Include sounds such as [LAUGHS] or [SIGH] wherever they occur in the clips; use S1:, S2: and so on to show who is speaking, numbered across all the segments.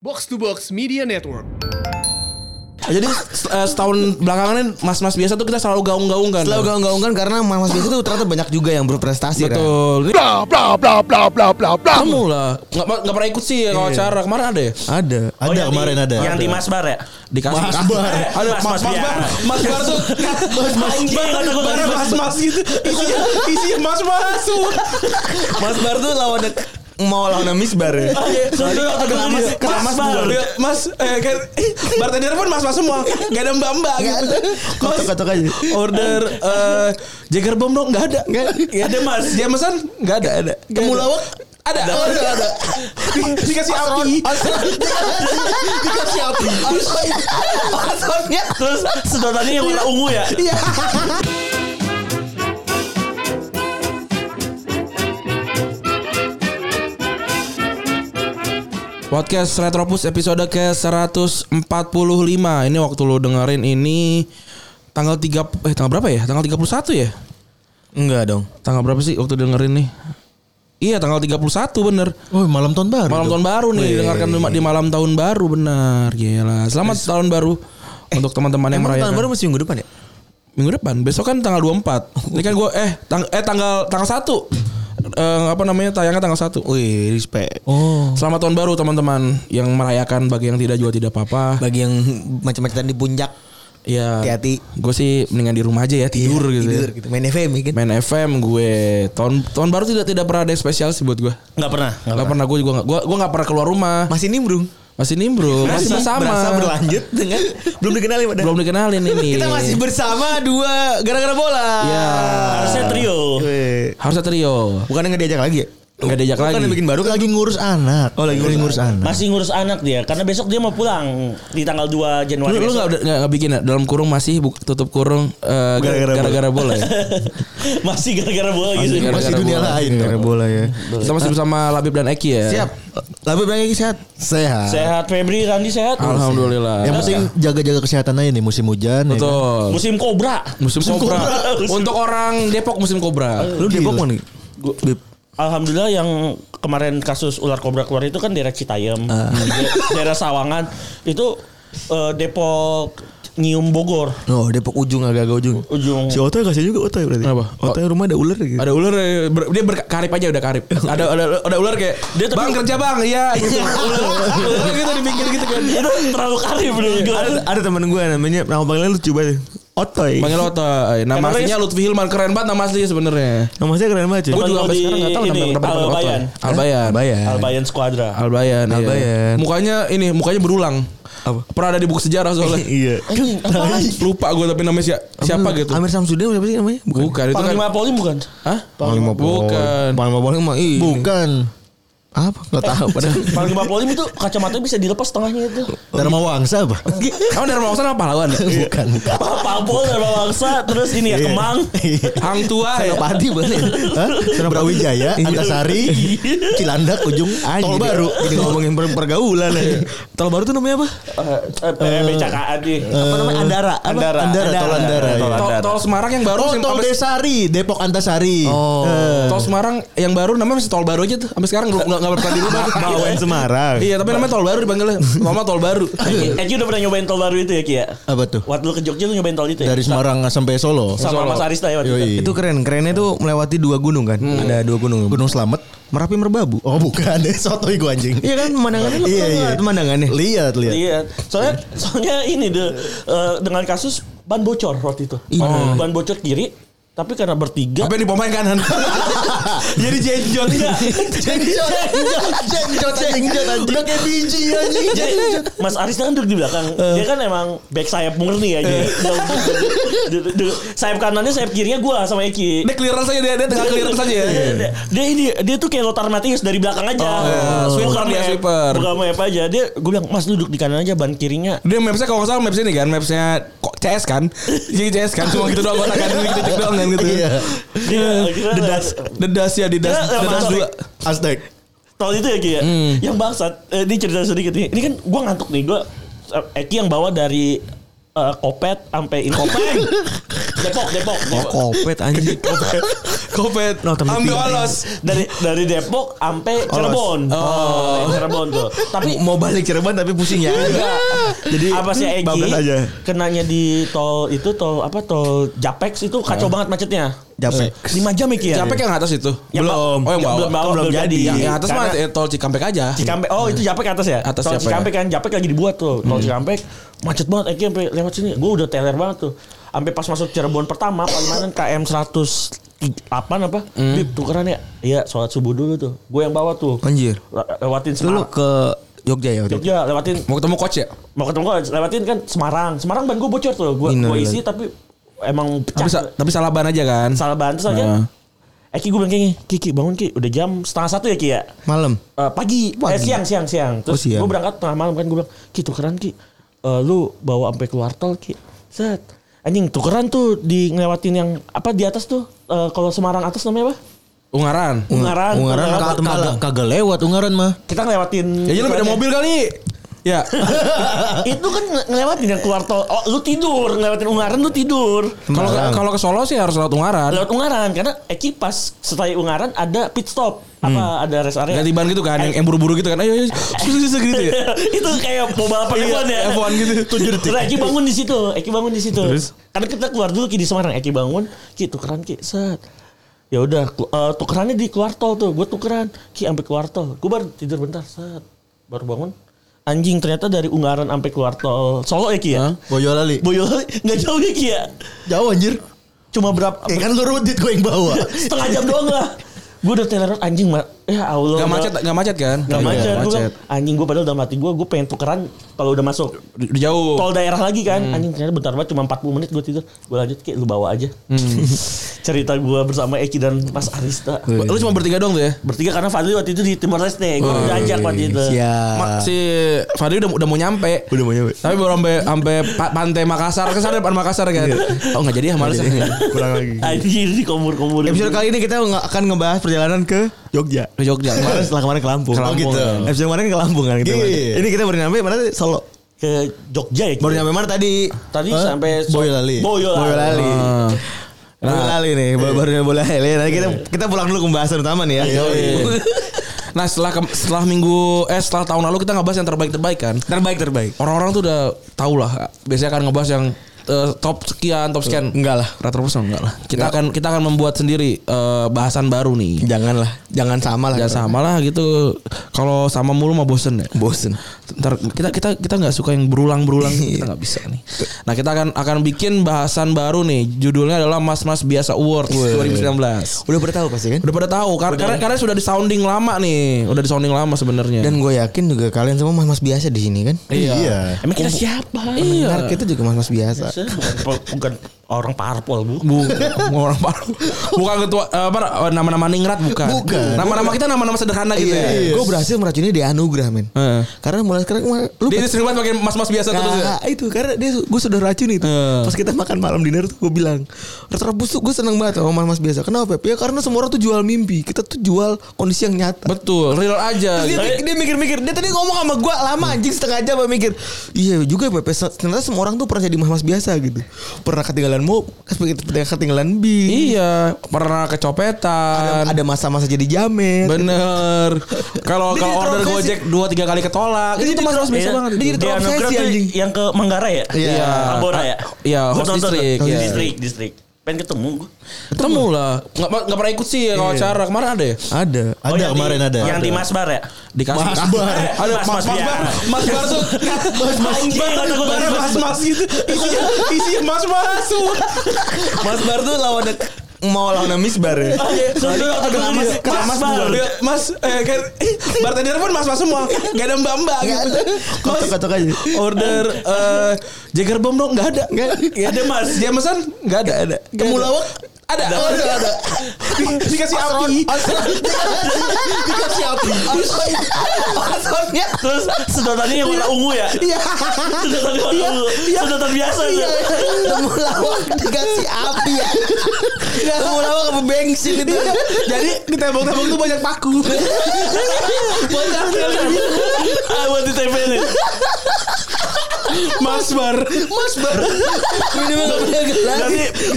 S1: Box to Box Media Network.
S2: Jadi se- eh, setahun belakangan ini mas-mas biasa tuh kita selalu gaung-gaung kan.
S3: Selalu gaung-gaungkan karena mas biasa itu ternyata banyak juga yang berprestasi. Ren.
S2: Betul. Iya. Ini
S1: Bla bla bla bla bla bla bla.
S2: kamu lah. Nggak, nggak pernah ikut sih kalau acara kemarin ada ya.
S3: Ada, ada
S4: Oh, yang di-
S3: kemarin ada.
S4: Yang di Mas Bar ya?
S2: Dikasih
S3: Mas Bar.
S2: Ada Mas
S4: Mas-
S2: Mas
S4: Mas Biar.
S2: Bar. Mas Bar tuh Mas Mas
S4: Anjing,
S2: Bar.
S4: kata gua
S2: Bar,
S4: Mas Bar.
S2: Mas Mas gitu. Isinya isinya Mas Mas semua.
S3: Mas Bar tuh lawan mau lawan Misbar ya.
S4: Sorry, kata gua
S2: Ah, iya. Mas,
S4: Mas- Mas
S2: mas,
S4: Bar.
S2: Bar. Dia, mas, eh kan eh, bartender pun mas mas semua, gak ada mbak mbak.
S3: Nggak ada. Kotak-kotak aja.
S2: Order eh Jager Bomb dong, gak ada. Gak
S4: ada, Mas.
S2: Jameson, gak ada. ada. Temulawak, Iya, ada. Ada. Oh, ada. ada. Di- Dikasih api. Dikasih api.
S4: Terus sedotannya yang warna ungu ya?
S2: Iya. Podcast Retropus episode ke-145 Ini waktu lu dengerin ini Tanggal 3 Eh tanggal berapa ya? Tanggal 31 ya?
S3: Enggak dong.
S2: Tanggal berapa sih waktu dengerin nih? Iya tanggal 31 bener
S3: Oh, malam tahun baru.
S2: Malam
S3: dong.
S2: tahun baru nih
S3: Wih.
S2: Dengarkan di ma- di malam tahun baru bener Gila Selamat tahun baru Untuk teman-teman yang
S3: Eh, Emang tahun baru
S2: merayakan
S3: masih minggu depan ya?
S2: Minggu depan Besok kan tanggal 24 Ini kan gue Eh, tang- eh tanggal tanggal 1 Eh, Apa namanya Tayangnya tanggal 1 Wih respect
S3: Oh.
S2: Selamat tahun baru teman-teman yang merayakan bagi yang tidak juga tidak apa-apa.
S3: Bagi yang macam-macam di puncak
S2: Ya.
S3: Hati-hati.
S2: Gue sih mendingan di rumah aja ya tidur
S3: Iya,
S2: gitu.
S3: Tidur
S2: ya.
S3: gitu. Main FM ya kan.
S2: Main FM gue tahun tahun baru tidak tidak pernah ada yang spesial sih buat gue.
S4: Enggak pernah.
S2: Gak, pernah gue juga gak, gue gue gak pernah keluar rumah.
S3: Masih nimbrung.
S2: Masih nimbrung, masih bersama.
S3: Berasa berlanjut dengan belum dikenalin padahal.
S2: Belum dikenalin ini.
S3: Kita masih bersama dua gara-gara bola.
S2: Iya.
S4: Harusnya trio.
S3: Weh.
S2: Harusnya trio.
S3: Bukan yang diajak lagi ya?
S2: Gak diajak
S3: Bukan
S2: lagi.
S3: yang bikin baru lagi ngurus anak. Oh, lagi ngurus, anak.
S4: Masih ngurus anak dia karena besok dia mau pulang di tanggal 2
S2: Lu,
S4: Januari.
S2: lu
S4: besok.
S2: gak, gak, gak bikin ya? dalam kurung masih bu- tutup kurung eh,
S3: Gara-gara
S2: gara-gara bola ya?
S4: [LAUGHS] [LAUGHS] Masih gara-gara bola
S2: Masih
S4: gitu.
S2: gara-gara
S3: Masih dunia
S2: bola.
S3: lain gara bola ya.
S2: Kita masih bersama Labib dan Eki ya.
S3: Siap. Lalu bilang lagi sehat. Sehat.
S4: Sehat Febri, Randi sehat.
S2: Alhamdulillah.
S5: Yang penting jaga-jaga kesehatan aja nih musim hujan. ya kan?
S2: Betul.
S4: Musim Kobra.
S2: Musim, kobra.
S4: Kobra. Musim-
S2: Untuk orang Depok musim Gitu. kobra.
S3: Lu Depok mana? nih? Bib.
S4: Alhamdulillah yang kemarin kasus ular kobra keluar itu kan daerah Citayam,
S2: Ah.
S4: Da- daerah Sawangan itu eh, Depok Nyium Bogor
S3: Oh, Depok ujung agak-agak ujung.
S4: ujung.
S3: Si Otoy kasih juga Otoy berarti.
S2: Kenapa?
S3: Otoy rumah ada ular gitu.
S2: Ada ular eh, ber- dia berkarip aja udah karip. Ada ada ada ular kayak dia bang kerja bang iya gitu. ular, ular gitu di pinggir gitu kan.
S4: Itu terlalu kali menurut
S2: Iya.
S4: gue.
S3: Ada, ada teman gue namanya nama panggilan lucu banget. Otoy.
S2: Panggil Ota. eh, Nama
S4: Karena
S2: aslinya
S4: dia-
S2: Lutfi Hilman keren banget nama aslinya sebenarnya.
S3: Nama saya keren banget cuy.
S2: Gue
S4: Teman
S2: juga
S4: lo
S2: sampai
S4: di
S2: sekarang enggak tahu nama
S4: ini,
S2: kenapa dipanggil Ota.
S4: Albayan.
S2: Albayan.
S3: Bayar.
S4: Albayan Squadra.
S2: Albayan. Eh? iya.
S3: Albayan.
S2: Mukanya ini mukanya berulang.
S3: Apa?
S2: Pernah ada di buku sejarah soalnya.
S3: [LAUGHS]
S5: [LAUGHS]
S3: Iya.
S2: Lupa gue tapi namanya si- siapa gitu.
S3: Amir Samsudin siapa sih namanya?
S2: Bukan itu kan.
S4: Panglima Polri bukan?
S2: Hah?
S5: Panglima Polri.
S2: Bukan.
S3: Panglima Polri mah ini.
S5: Bukan.
S3: [LAUGHS] Apa? Enggak tahu padahal.
S4: Panglima Polri itu kacamata bisa dilepas tengahnya itu.
S5: Dharma Wangsa apa?
S2: [LAUGHS] Kamu dari Mawangsa apa pahlawan?
S3: [LAUGHS] Iya.
S5: Bukan.
S4: Pak Pol dari Bangsa terus ini ya
S5: Iya.
S4: Kemang.
S2: Hang tua ya.
S3: Senopati [LAUGHS] boleh.
S5: Hah? Brawijaya,
S3: Iya.
S5: Antasari, Cilandak, ujung Tol Baru.
S3: Jadi ngomongin per- pergaulan ya. Tol baru tuh namanya apa?
S4: Eh, eh, Becakaan nih.
S3: Apa namanya? Andara. Apa?
S4: Andara.
S5: Eh, Andara, iya. Tol Andara.
S4: Tol
S2: Tol,
S4: Andara.
S2: tol Semarang yang baru
S5: Oh,
S2: yang
S5: Tol
S2: sampai-
S5: Desari, Depok Antasari.
S3: Oh.
S5: Eh,
S2: Tol Semarang yang baru namanya masih tol baru aja tuh. Sampai sekarang belum nggak nggak pernah dirubah.
S3: Bawen Semarang.
S2: Iya, tapi namanya tol baru dipanggilnya. Mama tol baru.
S3: Iya.
S4: Eki Eki Eh, udah pernah nyobain tol baru itu ya Ki ya?
S5: Apa tuh?
S4: Waktu lu ke Jogja lu nyobain tol itu ya?
S5: Dari Semarang sampai Solo.
S4: Sama Mas Arista ya waktu itu?
S5: Yoi.
S3: Itu keren. Kerennya tuh melewati dua gunung kan. Ada dua gunung.
S5: Gunung Slamet.
S3: Merapi Merbabu.
S5: Oh,
S3: [LAUGHS]
S5: bukan. Sotoy gua anjing.
S3: Iya kan pemandangannya lu
S5: Iya,
S3: tau
S5: iya.
S3: nggak pemandangannya.
S5: Lihat, lihat.
S3: [LAUGHS]
S4: Iya. Soalnya soalnya ini deh eh, dengan kasus ban bocor waktu itu. Oh.
S3: Iya.
S4: Ban bocor kiri tapi karena bertiga eh,
S2: Apa yang kan, dipompain
S3: [LAUGHS]
S2: kanan?
S3: Jadi jenjot
S4: Enggak.
S5: Jengjot, jengjot, jengjot, jengjot, anjing. Udah kayak biji
S3: [LAUGHS]
S5: anjing.
S4: Jadi Mas Arista kan duduk di belakang.
S5: Eh.
S4: Dia kan emang back sayap murni ya. Jadi duduk- duduk- sayap kanannya sayap kirinya gua sama Eki.
S2: Dia clearance aja dia, dia tengah clearance aja
S3: Iya.
S2: ya. Oh,
S4: Dia, Iya, dia ini dia tuh kayak Lothar Matthäus dari belakang aja.
S2: iya. sweeper dia,
S4: map,
S2: sweeper.
S4: Bukan map aja. Dia gue bilang, "Mas duduk di kanan aja ban kirinya."
S2: Dia mapsnya kalau nggak salah maps ini kan, mapsnya kok CS kan? Jadi CS kan, cuma gitu doang kotak kanan gitu gitu doang kan gitu.
S5: Iya.
S4: Dia akhirnya-
S2: Dedas ya, dedas,
S4: Dia, eh,
S2: dedas
S4: masuk.
S2: dua.
S5: Aztek.
S4: Tahun itu ya Ki ya.
S2: Hmm.
S4: Yang bangsat. Eh, ini cerita sedikit nih. Ini kan gua ngantuk
S2: [LAUGHS]
S4: nih. Gua eh, Eki yang bawa dari eh, Kopet sampai ini Kopeng. Depok, Depok.
S3: Oh, kopet anjing.
S2: Kopet.
S3: No, temen
S2: Ambil
S3: tiga.
S2: alas.
S4: Dari dari Depok sampai Cirebon. Oh, Cirebon tuh.
S2: [LAUGHS]
S4: Tapi
S3: Mau balik Cirebon tapi [LAUGHS] pusing ya.
S2: Iya.
S4: Jadi apa sih Egi?
S3: bablas aja.
S4: Kenanya di tol itu tol apa tol Japex itu kacau banget macetnya.
S3: Nah. Japek.
S4: 5 jam Eki ya?
S2: Capek yang atas itu.
S4: Yang
S2: belum. Oh,
S4: ba-
S2: yang
S4: yang
S2: bawah.
S4: belum bawah,
S2: belum
S4: belum
S2: jadi.
S4: jadi.
S2: Yang, yang atas mah
S4: Karena-
S2: eh, tol Cikampek aja.
S4: Cikampek. Oh, itu Japek atas ya?
S2: Atas
S4: Tol
S2: Japek.
S4: Cikampek kan Japek lagi dibuat tuh.
S3: Hmm.
S4: Tol Cikampek macet banget Eki sampai lewat sini. Gue udah teler banget tuh. Sampai pas masuk Cirebon pertama Palimanan KM 100 apa apa?
S3: Hmm.
S4: Bib tukeran ya? Iya, sholat subuh dulu tuh. Gue yang bawa tuh.
S3: Anjir.
S4: Le- lewatin
S3: Lu
S4: Semarang.
S3: ke Jogja ya? waktu itu?
S4: Jogja, lewatin
S2: Mau ketemu coach ya?
S4: mau ketemu gue lewatin kan Semarang. Semarang ban gue bocor tuh. Gue
S3: Innalillahi.
S4: gue isi tapi emang pecah.
S2: Tapi, sa- tapi salah ban aja kan.
S4: salah bahan terus aja.
S2: Nah.
S4: Eki gue bilang kayaknya Kiki bangun Ki udah jam setengah satu ya Ki ya
S3: Malam.
S4: Eh, pagi, Eh,
S3: Pagi.
S4: siang siang siang terus
S3: Oh, siang.
S4: gue berangkat tengah malam kan gue bilang Ki tukeran Ki Eh, lu bawa sampai keluar tol Ki set anjing tukeran tuh di ngelewatin yang apa di atas tuh Eh, kalau Semarang atas namanya apa
S2: Ungaran.
S4: Ungaran
S3: Ungaran ka- kagak kagak lewat Ungaran mah.
S4: kita ngelewatin
S2: Ya jadi lu beda mobil kali. Ya.
S4: [LAUGHS] itu kan nge- ngelewatin yang keluar tol oh lu tidur ngelewatin Ungaran lu tidur
S2: Kalau kalau ke Solo sih harus lewat Ungaran.
S4: lewat Ungaran karena Eki pas setelah Ungaran ada pit stop
S2: Hmm.
S4: apa ada rest area
S2: Ganti ban gitu kan, yang, yang buru-buru gitu kan. Ayo, ayo, susah-susah gitu
S4: Iya.
S2: ya.
S4: [LAUGHS] itu kayak mau balapan F1 ya.
S2: F1 gitu.
S4: [LAUGHS] Tujuh detik. Terus Eki bangun di situ. Eki bangun di situ. Karena kita keluar dulu Ki di Semarang. Eki bangun, Ki tukeran Ki. Set. Ya udah, kelu- eh, tukerannya di keluar tol tuh. Gue tukeran. Ki sampai keluar tol. Gue baru tidur bentar. Set. Baru bangun. Anjing ternyata dari Ungaran sampai keluar tol Solo ya Ki ya.
S5: Boyolali.
S4: Boyolali nggak jauh ya Ki ya.
S5: Jauh anjir.
S4: Cuma
S2: [LAUGHS]
S4: berapa
S3: Eh,
S5: Ya kan lu rudit gue yang bawa.
S4: setengah jam doang lah. Gue udah telerot anjing ma- ya Allah.
S2: Gak macet, gak macet kan?
S4: Gak
S2: Iya,
S4: macet. Gua bilang, anjing gue padahal dalam hati gue, gue pengen tukeran kalau udah masuk
S2: Udah Jauh.
S4: tol daerah lagi kan. Anjing ternyata bentar banget cuma 40 menit gue tidur. Gue lanjut kayak lu bawa aja. [LAUGHS] Cerita gue bersama Eki dan Mas Arista.
S2: Lu cuma bertiga doang tuh ya?
S4: Bertiga karena Fadli waktu itu di Timor Leste. Gue udah ajak waktu itu.
S3: Ya.
S2: Ma- si Fadli udah udah mau nyampe.
S5: Udah mau nyampe.
S2: Tapi baru sampai sampai pa- pantai Makassar ke sana depan Makassar kan. Oh nggak jadi ya males.
S5: Pulang lagi.
S4: Anjing di komur-komur.
S3: Episode kali ini kita nggak akan ngebahas perjalanan ke
S5: Jogja.
S2: Ke Jogja. Iya.
S3: kemarin setelah kemarin ke Lampung.
S5: Oh gitu.
S3: Episode kemarin ke Lampung kan kita.
S5: Iya.
S3: Ini kita baru nyampe mana tadi? Solo.
S4: ke Jogja ya.
S3: Baru nyampe mana tadi?
S4: Tadi
S3: Hah?
S4: sampai
S5: Boyolali.
S4: Boyolali.
S3: Boyolali.
S2: Ah.
S3: Nah, Boyolali nih, baru baru Boyolali. Nanti kita kita pulang dulu ke pembahasan utama nih ya.
S2: Nah setelah kem- setelah minggu eh setelah tahun lalu kita ngebahas yang terbaik terbaik kan.
S3: [LAUGHS] terbaik terbaik.
S2: Orang-orang tuh udah tau lah. Biasanya akan ngebahas yang eh, top sekian top sekian.
S3: Enggak lah.
S2: Retropus enggak lah. Kita akan kita akan membuat sendiri eh, bahasan baru nih.
S3: Jangan lah, jangan sama lah.
S2: Ya sama lah gitu. Kalau sama mulu mah bosen ya.
S3: Bosen.
S2: Ntar kita kita kita nggak suka yang berulang berulang kita nggak bisa nih. Nah kita akan akan bikin bahasan baru nih. Judulnya adalah Mas Mas Biasa Awards 2019.
S3: Udah bertahu pasti kan?
S2: Udah pada tahu kar- karena karena sudah di sounding lama nih. Udah di sounding lama sebenarnya.
S3: Dan gue yakin juga kalian semua mas-mas biasa di sini kan?
S5: Iya.
S4: Emang kita siapa?
S3: Pendengar kita juga mas-mas biasa.
S4: Ah. Bukan, bukan orang parpol bu.
S2: Bu, orang baru. Bukan ketua eh, apa nama-nama ningrat bukan.
S5: Bukan.
S2: Nama-nama kita nama-nama sederhana gitu ya.
S3: Iya. Gue berhasil meracuni di anugerah men.
S2: Heeh.
S3: Karena mulai sekarang ma- lu
S2: Dia sering banget pakai mas-mas biasa terus. ya.
S3: Nah, itu karena dia gue sudah racun itu.
S2: Eh.
S3: Pas kita makan malam dinner tuh gue bilang, "Retropus tuh gue seneng banget sama mas-mas biasa." Kenapa? Ya karena semua orang tuh jual mimpi. Kita tuh jual kondisi yang nyata.
S2: Betul, real aja. gitu.
S3: Terus dia, dia mikir-mikir Dia tadi ngomong sama gue Lama
S2: Iya.
S3: anjing setengah jam gua mikir Iya juga ya Pepe Se- Ternyata semua orang tuh pernah jadi mas-mas biasa gitu Pernah ketinggalan mau Pernah ketinggalan bis
S2: Iya, pernah kecopetan.
S3: Ada masa-masa jadi jamet
S2: Bener. Kalau
S3: Dia
S2: kalau
S3: jadi
S2: order
S3: terobsesi.
S2: Gojek dua tiga kali ketolak.
S3: Dia
S2: Itu
S3: jadi
S2: mas mas
S3: terobsesi.
S2: biasa
S3: Iya.
S2: banget.
S3: Dia
S2: itu.
S3: jadi
S4: Di
S3: terobsesi,
S4: anugerah tuh
S3: anjing.
S4: yang ke Manggarai ya?
S3: Iya.
S4: Tambora ya?
S2: Iya,
S4: Gua
S2: host
S4: nonton tuh.
S2: district, iya.
S4: Distrik, distrik. Pengen ketemu gua.
S2: Ketemu lah. Nggak nggak pernah ikut sih
S3: Iya.
S2: kalau acara kemarin ada ya.
S3: Ada
S4: Oh,
S5: Ada
S4: yang di-
S5: kemarin ada.
S4: Yang di Mas Bar ya?
S2: Dikasih
S5: Mas Bar.
S2: Ada mas mas bar. Mas bar tuh. Mas mas
S4: Anjing, kata gua
S2: bar.
S4: tadi.
S2: Mas mas gitu. Isinya isinya mas mas.
S3: Mas Bar tuh lawannya Mau lawan Misbar ya
S4: Soalnya kata gua tadi, Mas Bar.
S2: Lihat, Mas eh kan bartender pun mas mas semua. [LAUGHS] Gak ada mbak mbak gitu. Mas,
S3: Kotok-kotok aja
S2: Order eh Jager Bomb dong nggak ada.
S3: Nggak-
S2: Ada Mas. Jameson nggak ada. Ada. Kamu lawak ada. Oh, ada. ada. Di- Dikasih api.
S5: Dikasih api.
S3: Maksudnya
S4: Terus sedotannya yang warna ungu ya?
S3: Iya
S4: Sedotan
S2: Iya.
S4: warna ungu. Sedotan biasa ya?
S3: Temulawak dikasih api ya Temulawak apa bensin itu
S2: Jadi di tembok-tembok tuh banyak paku.
S4: Ah, buat di TP nih.
S2: Mas
S3: Mas Bar, Mas Bar. Minumnya nggak punya gelas.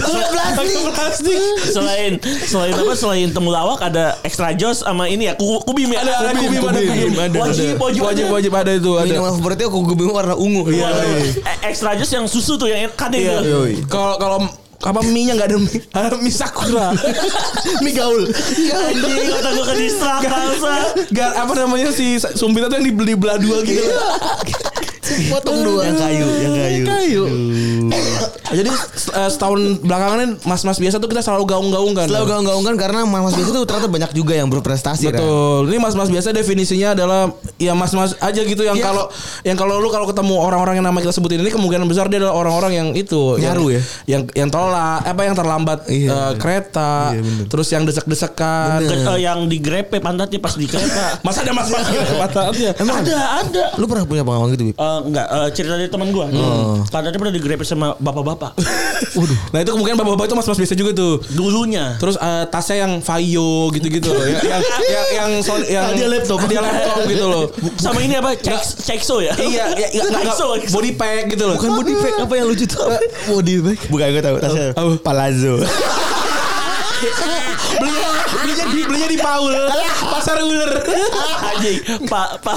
S3: Udah plastik.
S4: [LAUGHS] plastik. Selain selain apa selain temulawak ada extra jos sama ini ya ku- kubim ya.
S2: Ada, ada kubim, ada kubim. Ada, ada.
S4: Wajib wajib
S2: wajib,
S4: ada.
S2: wajib ada itu. Ada.
S3: Minuman favoritnya aku gue warna ungu.
S4: Iya. Eh, Extra jos yang susu tuh yang kan itu.
S2: Iya. Kalau kalau apa mie nya nggak ada mie, ada mie sakura.
S5: Mie gaul.
S3: Iya,
S4: Anjing, otak gua ke distrak bangsa.
S2: Gak apa namanya si sumpitnya tuh yang dibeli belah dua gitu.
S3: Potong dua. Yang kayu, yang kayu.
S2: Kayu. Jadi se- eh, setahun belakangan ini mas-mas biasa tuh kita selalu kan? gaung-gaungkan.
S3: Selalu iya. gaung-gaungkan karena mas-mas biasa itu ternyata banyak juga yang berprestasi. Ran.
S2: Betul. Ini mas-mas biasa definisinya adalah ya mas-mas aja gitu yang
S3: Iya.
S2: kalau yang kalau lu kalau ketemu orang-orang yang nama kita sebutin ini kemungkinan besar dia adalah orang-orang yang itu
S3: Nyaru
S2: yang,
S3: ya?
S2: Yang yang tolak apa yang terlambat
S3: Iya.
S2: eh, kereta, terus yang
S4: Ke-
S2: desek-desekan.
S4: eh, yang digrepe pantatnya pas di kereta.
S2: [LAUGHS] Mas ada iya. mas-mas manfaatnya.
S3: Iya. Emang
S4: ada, ada.
S3: Lu pernah punya pengalaman gitu, Bib?
S4: Eh, enggak, eh, cerita dari teman gua.
S2: Oh.
S4: Pantatnya pernah digrepe sama
S2: [LAUGHS]
S4: bapak-bapak.
S2: Nah itu kemungkinan bapak-bapak itu mas-mas biasa juga tuh.
S4: Dulunya.
S2: Terus eh, tasnya yang Vaio gitu-gitu loh. ya, yang yang yang yang, son-
S3: Ah,
S2: yang
S5: Hadiah laptop.
S2: hadiah laptop gitu loh.
S3: [LAUGHS]
S4: Sama ini apa? Cek cekso ya?
S2: iya, iya, iya, nggak- nggak-
S4: Cekso, cekso.
S2: body pack gitu loh.
S3: Kan
S2: Bukan
S5: Body bag apa yang lucu tuh?
S3: Eh,
S5: Body bag. Bukan gue tahu. Tasnya
S2: Apa?
S5: Palazzo.
S2: [LAUGHS] [LAUGHS] belinya belinya di belinya di Paul. Pasar ular.
S4: [LAUGHS] Anjing, Pak Pak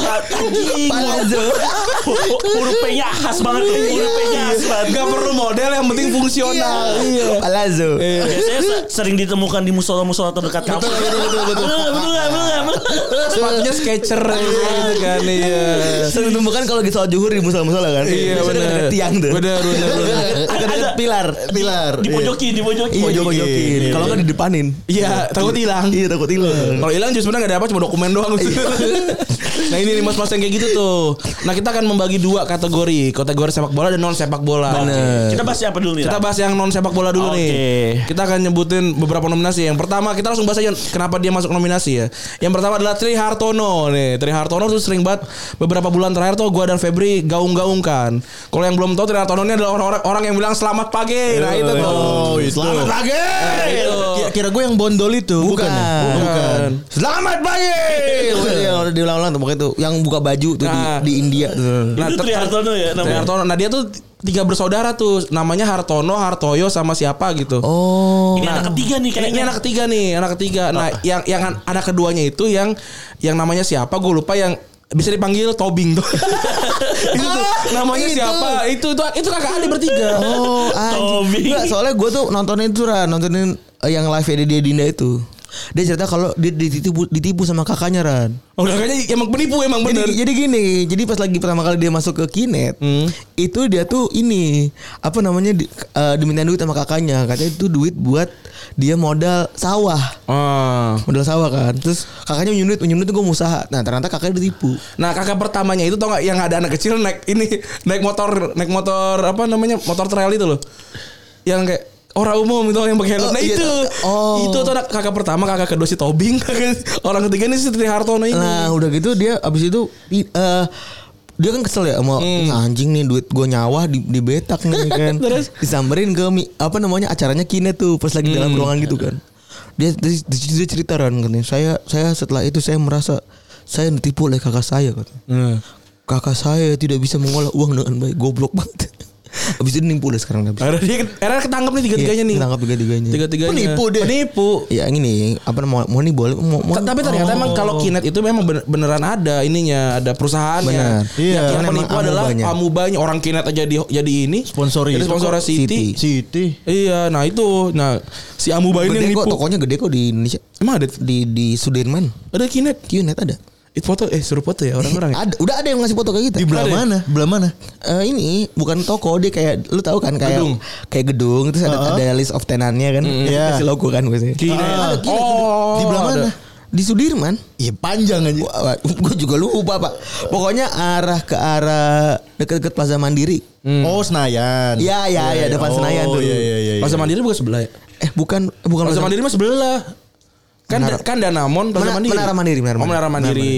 S4: anjing. Huruf P-nya khas banget
S2: Iya.
S4: tuh. Huruf P-nya khas banget.
S2: Gak perlu model yang penting fungsional. Iya.
S3: Palazzo.
S4: Biasanya se- sering ditemukan di musola-musola terdekat kampus. Betul, betul, betul. Betul, nggak? betul, nggak? betul.
S2: Sepatunya Skechers gitu kan iya.
S3: Sering ditemukan Eh, kalau lagi sholat juhur di musola-musola kan.
S2: Iya
S3: Biasanya
S2: benar.
S3: dekat tiang tuh.
S2: Benar benar benar.
S3: Agak dekat pilar. Iya,
S5: Pilar.
S4: Dipojokin, dipojokin.
S3: Pojokin. Kalau nggak didepanin.
S2: Iya, Iya. takut hilang.
S3: Iya takut hilang.
S2: Kalau hilang justru sebenarnya gak ada apa cuma dokumen doang. [LAUGHS] nah ini nih mas-mas yang kayak gitu tuh. Nah kita akan membagi dua kategori, kategori sepak bola dan non sepak bola. Bener.
S4: Kita bahas apa dulu nih?
S2: Kita
S4: Ram?
S2: bahas yang non sepak bola dulu
S4: Nah. Oke.
S2: nih. Kita akan nyebutin beberapa nominasi. Yang pertama kita langsung bahas aja kenapa dia masuk nominasi ya. Yang pertama adalah Tri Hartono nih. Tri Hartono tuh sering banget beberapa bulan terakhir tuh gua dan Febri gaung-gaungkan. Kalau yang belum tahu Tri Hartono ini adalah orang-orang orang yang bilang selamat pagi.
S3: Eh,
S2: Nah itu tuh.
S5: Oh,
S3: iya.
S5: itu.
S2: Selamat pagi. Nah, itu.
S5: Kira- Kira gue yang bondol itu. Bukan. ya?
S3: Oh,
S2: Bukan.
S3: Selamat pagi. Yang udah diulang-ulang tuh pokoknya tuh yang buka baju tuh di,
S2: Nah.
S3: di India tuh.
S2: Nah,
S4: Itu
S2: ter-
S4: Tri Hartono ya
S2: Tri
S4: namanya.
S2: Hartono. Nah dia tuh tiga bersaudara tuh namanya Hartono, Hartoyo sama siapa gitu.
S3: Oh.
S4: Ini anak ketiga
S2: Ini,
S4: nih
S2: ini
S4: kayaknya.
S2: anak ketiga nih, anak ketiga. Nah, yang yang an- anak keduanya itu yang yang namanya siapa? Gue lupa yang bisa dipanggil Tobing
S3: [LAUGHS]
S2: tuh. itu tuh, namanya
S3: itu.
S2: siapa? Itu itu itu kakak adik bertiga.
S3: [LAUGHS] Oh, anjing.
S4: Tommy.
S3: Enggak, soalnya gue tuh nontonin itu Ra, nontonin eh, yang live nya dia Dinda itu. Dia cerita kalau dia ditipu, ditipu sama kakaknya Ran.
S2: Oh, kakaknya emang penipu emang bener. Hmm.
S3: Jadi, jadi gini, jadi pas lagi pertama kali dia masuk ke kinet, itu dia tuh ini apa namanya di, eh, dimintain duit sama kakaknya, katanya itu duit buat dia modal sawah,
S2: Ah.
S3: modal sawah kan. Terus kakaknya minjem duit, minjem duit tuh gue mau usaha. Nah ternyata kakaknya ditipu.
S2: Nah kakak pertamanya itu tau gak yang ada anak kecil naik ini naik motor naik motor apa namanya motor trail itu loh yang kayak orang umum itu yang pakai helm.
S3: Oh,
S2: Nah
S3: iya,
S2: itu
S3: oh.
S2: itu tuh anak kakak pertama kakak kedua si Tobing [LAUGHS] kakak- orang ketiga ini si Tri Hartono ini.
S3: Nah udah gitu dia abis itu i- eh, dia kan kesel ya
S2: Hmm.
S3: sama "Ih, anjing nih duit gue nyawa di, dibetak nih
S2: [LAUGHS]
S3: kan. Terus disamperin ke mi- apa namanya acaranya kine tuh pas lagi
S2: Hmm.
S3: dalam ruangan gitu kan. Dia di di situ dia cerita kan katanya, saya saya setelah itu saya merasa saya ditipu oleh kakak saya katanya.
S2: Nah.
S3: Kakak saya tidak bisa mengolah uang dengan baik goblok banget. [LAUGHS] Abis itu nimpul deh sekarang dia.
S2: Akhirnya dia akhirnya ketangkep nih tiga-tiganya nih.
S3: Tangkap Iya, tiga-tiganya.
S2: Tiga-tiganya.
S5: Penipu dia.
S2: Penipu.
S3: Ya ini nih, apa mau mau nih boleh mau, mau
S2: Ta-
S3: Oh.
S2: Tapi ternyata emang kalau Kinet itu memang bener- beneran ada ininya, ada perusahaannya.
S3: Bener.
S5: Iya.
S2: Yang
S3: Karena
S2: penipu
S3: emang
S2: adalah
S3: amubanya.
S2: amubanya orang Kinet aja di, jadi ini.
S5: Sponsori.
S2: Jadi sponsornya City.
S3: City.
S5: City.
S2: Iya, nah itu. Nah, si amuba ini yang
S3: Gede kok
S2: nipu.
S3: tokonya gede kok di Indonesia.
S2: Emang ada
S3: Di di Sudirman.
S2: ada Kinet.
S3: Qnet ada.
S2: Itu foto eh suruh foto ya orang-orang. ya?
S3: Ada, udah ada yang ngasih foto kayak kita.
S5: Di belah
S3: Ada.
S5: mana? Belah mana?
S3: Eh, ini bukan toko dia kayak lu tahu kan kayak
S5: Gedung. Uh-huh.
S3: kayak gedung terus ada, ada list of tenannya kan.
S5: Iya.
S3: Kasih logo kan biasanya.
S2: Kinet.
S3: Ada
S2: Ah.
S3: Qnet.
S2: Oh,
S3: di belah
S2: ada.
S3: mana? Di Sudirman.
S5: Iya panjang aja.
S3: Gue juga lupa pak. Pokoknya arah ke arah deket-deket Plaza Mandiri.
S5: Oh
S3: Hmm.
S5: Senayan.
S3: Iya, iya, iya, depan Senayan tuh.
S5: Iya iya iya.
S2: Plaza Mandiri bukan sebelah ya?
S3: Eh bukan bukan
S2: Plaza Mandiri mah sebelah. Kan
S3: Menara-
S2: kan Danamon Plaza
S3: Mena-
S2: Mandiri.
S3: Menara Mandiri, Menara
S2: Oh, Menara Mandiri.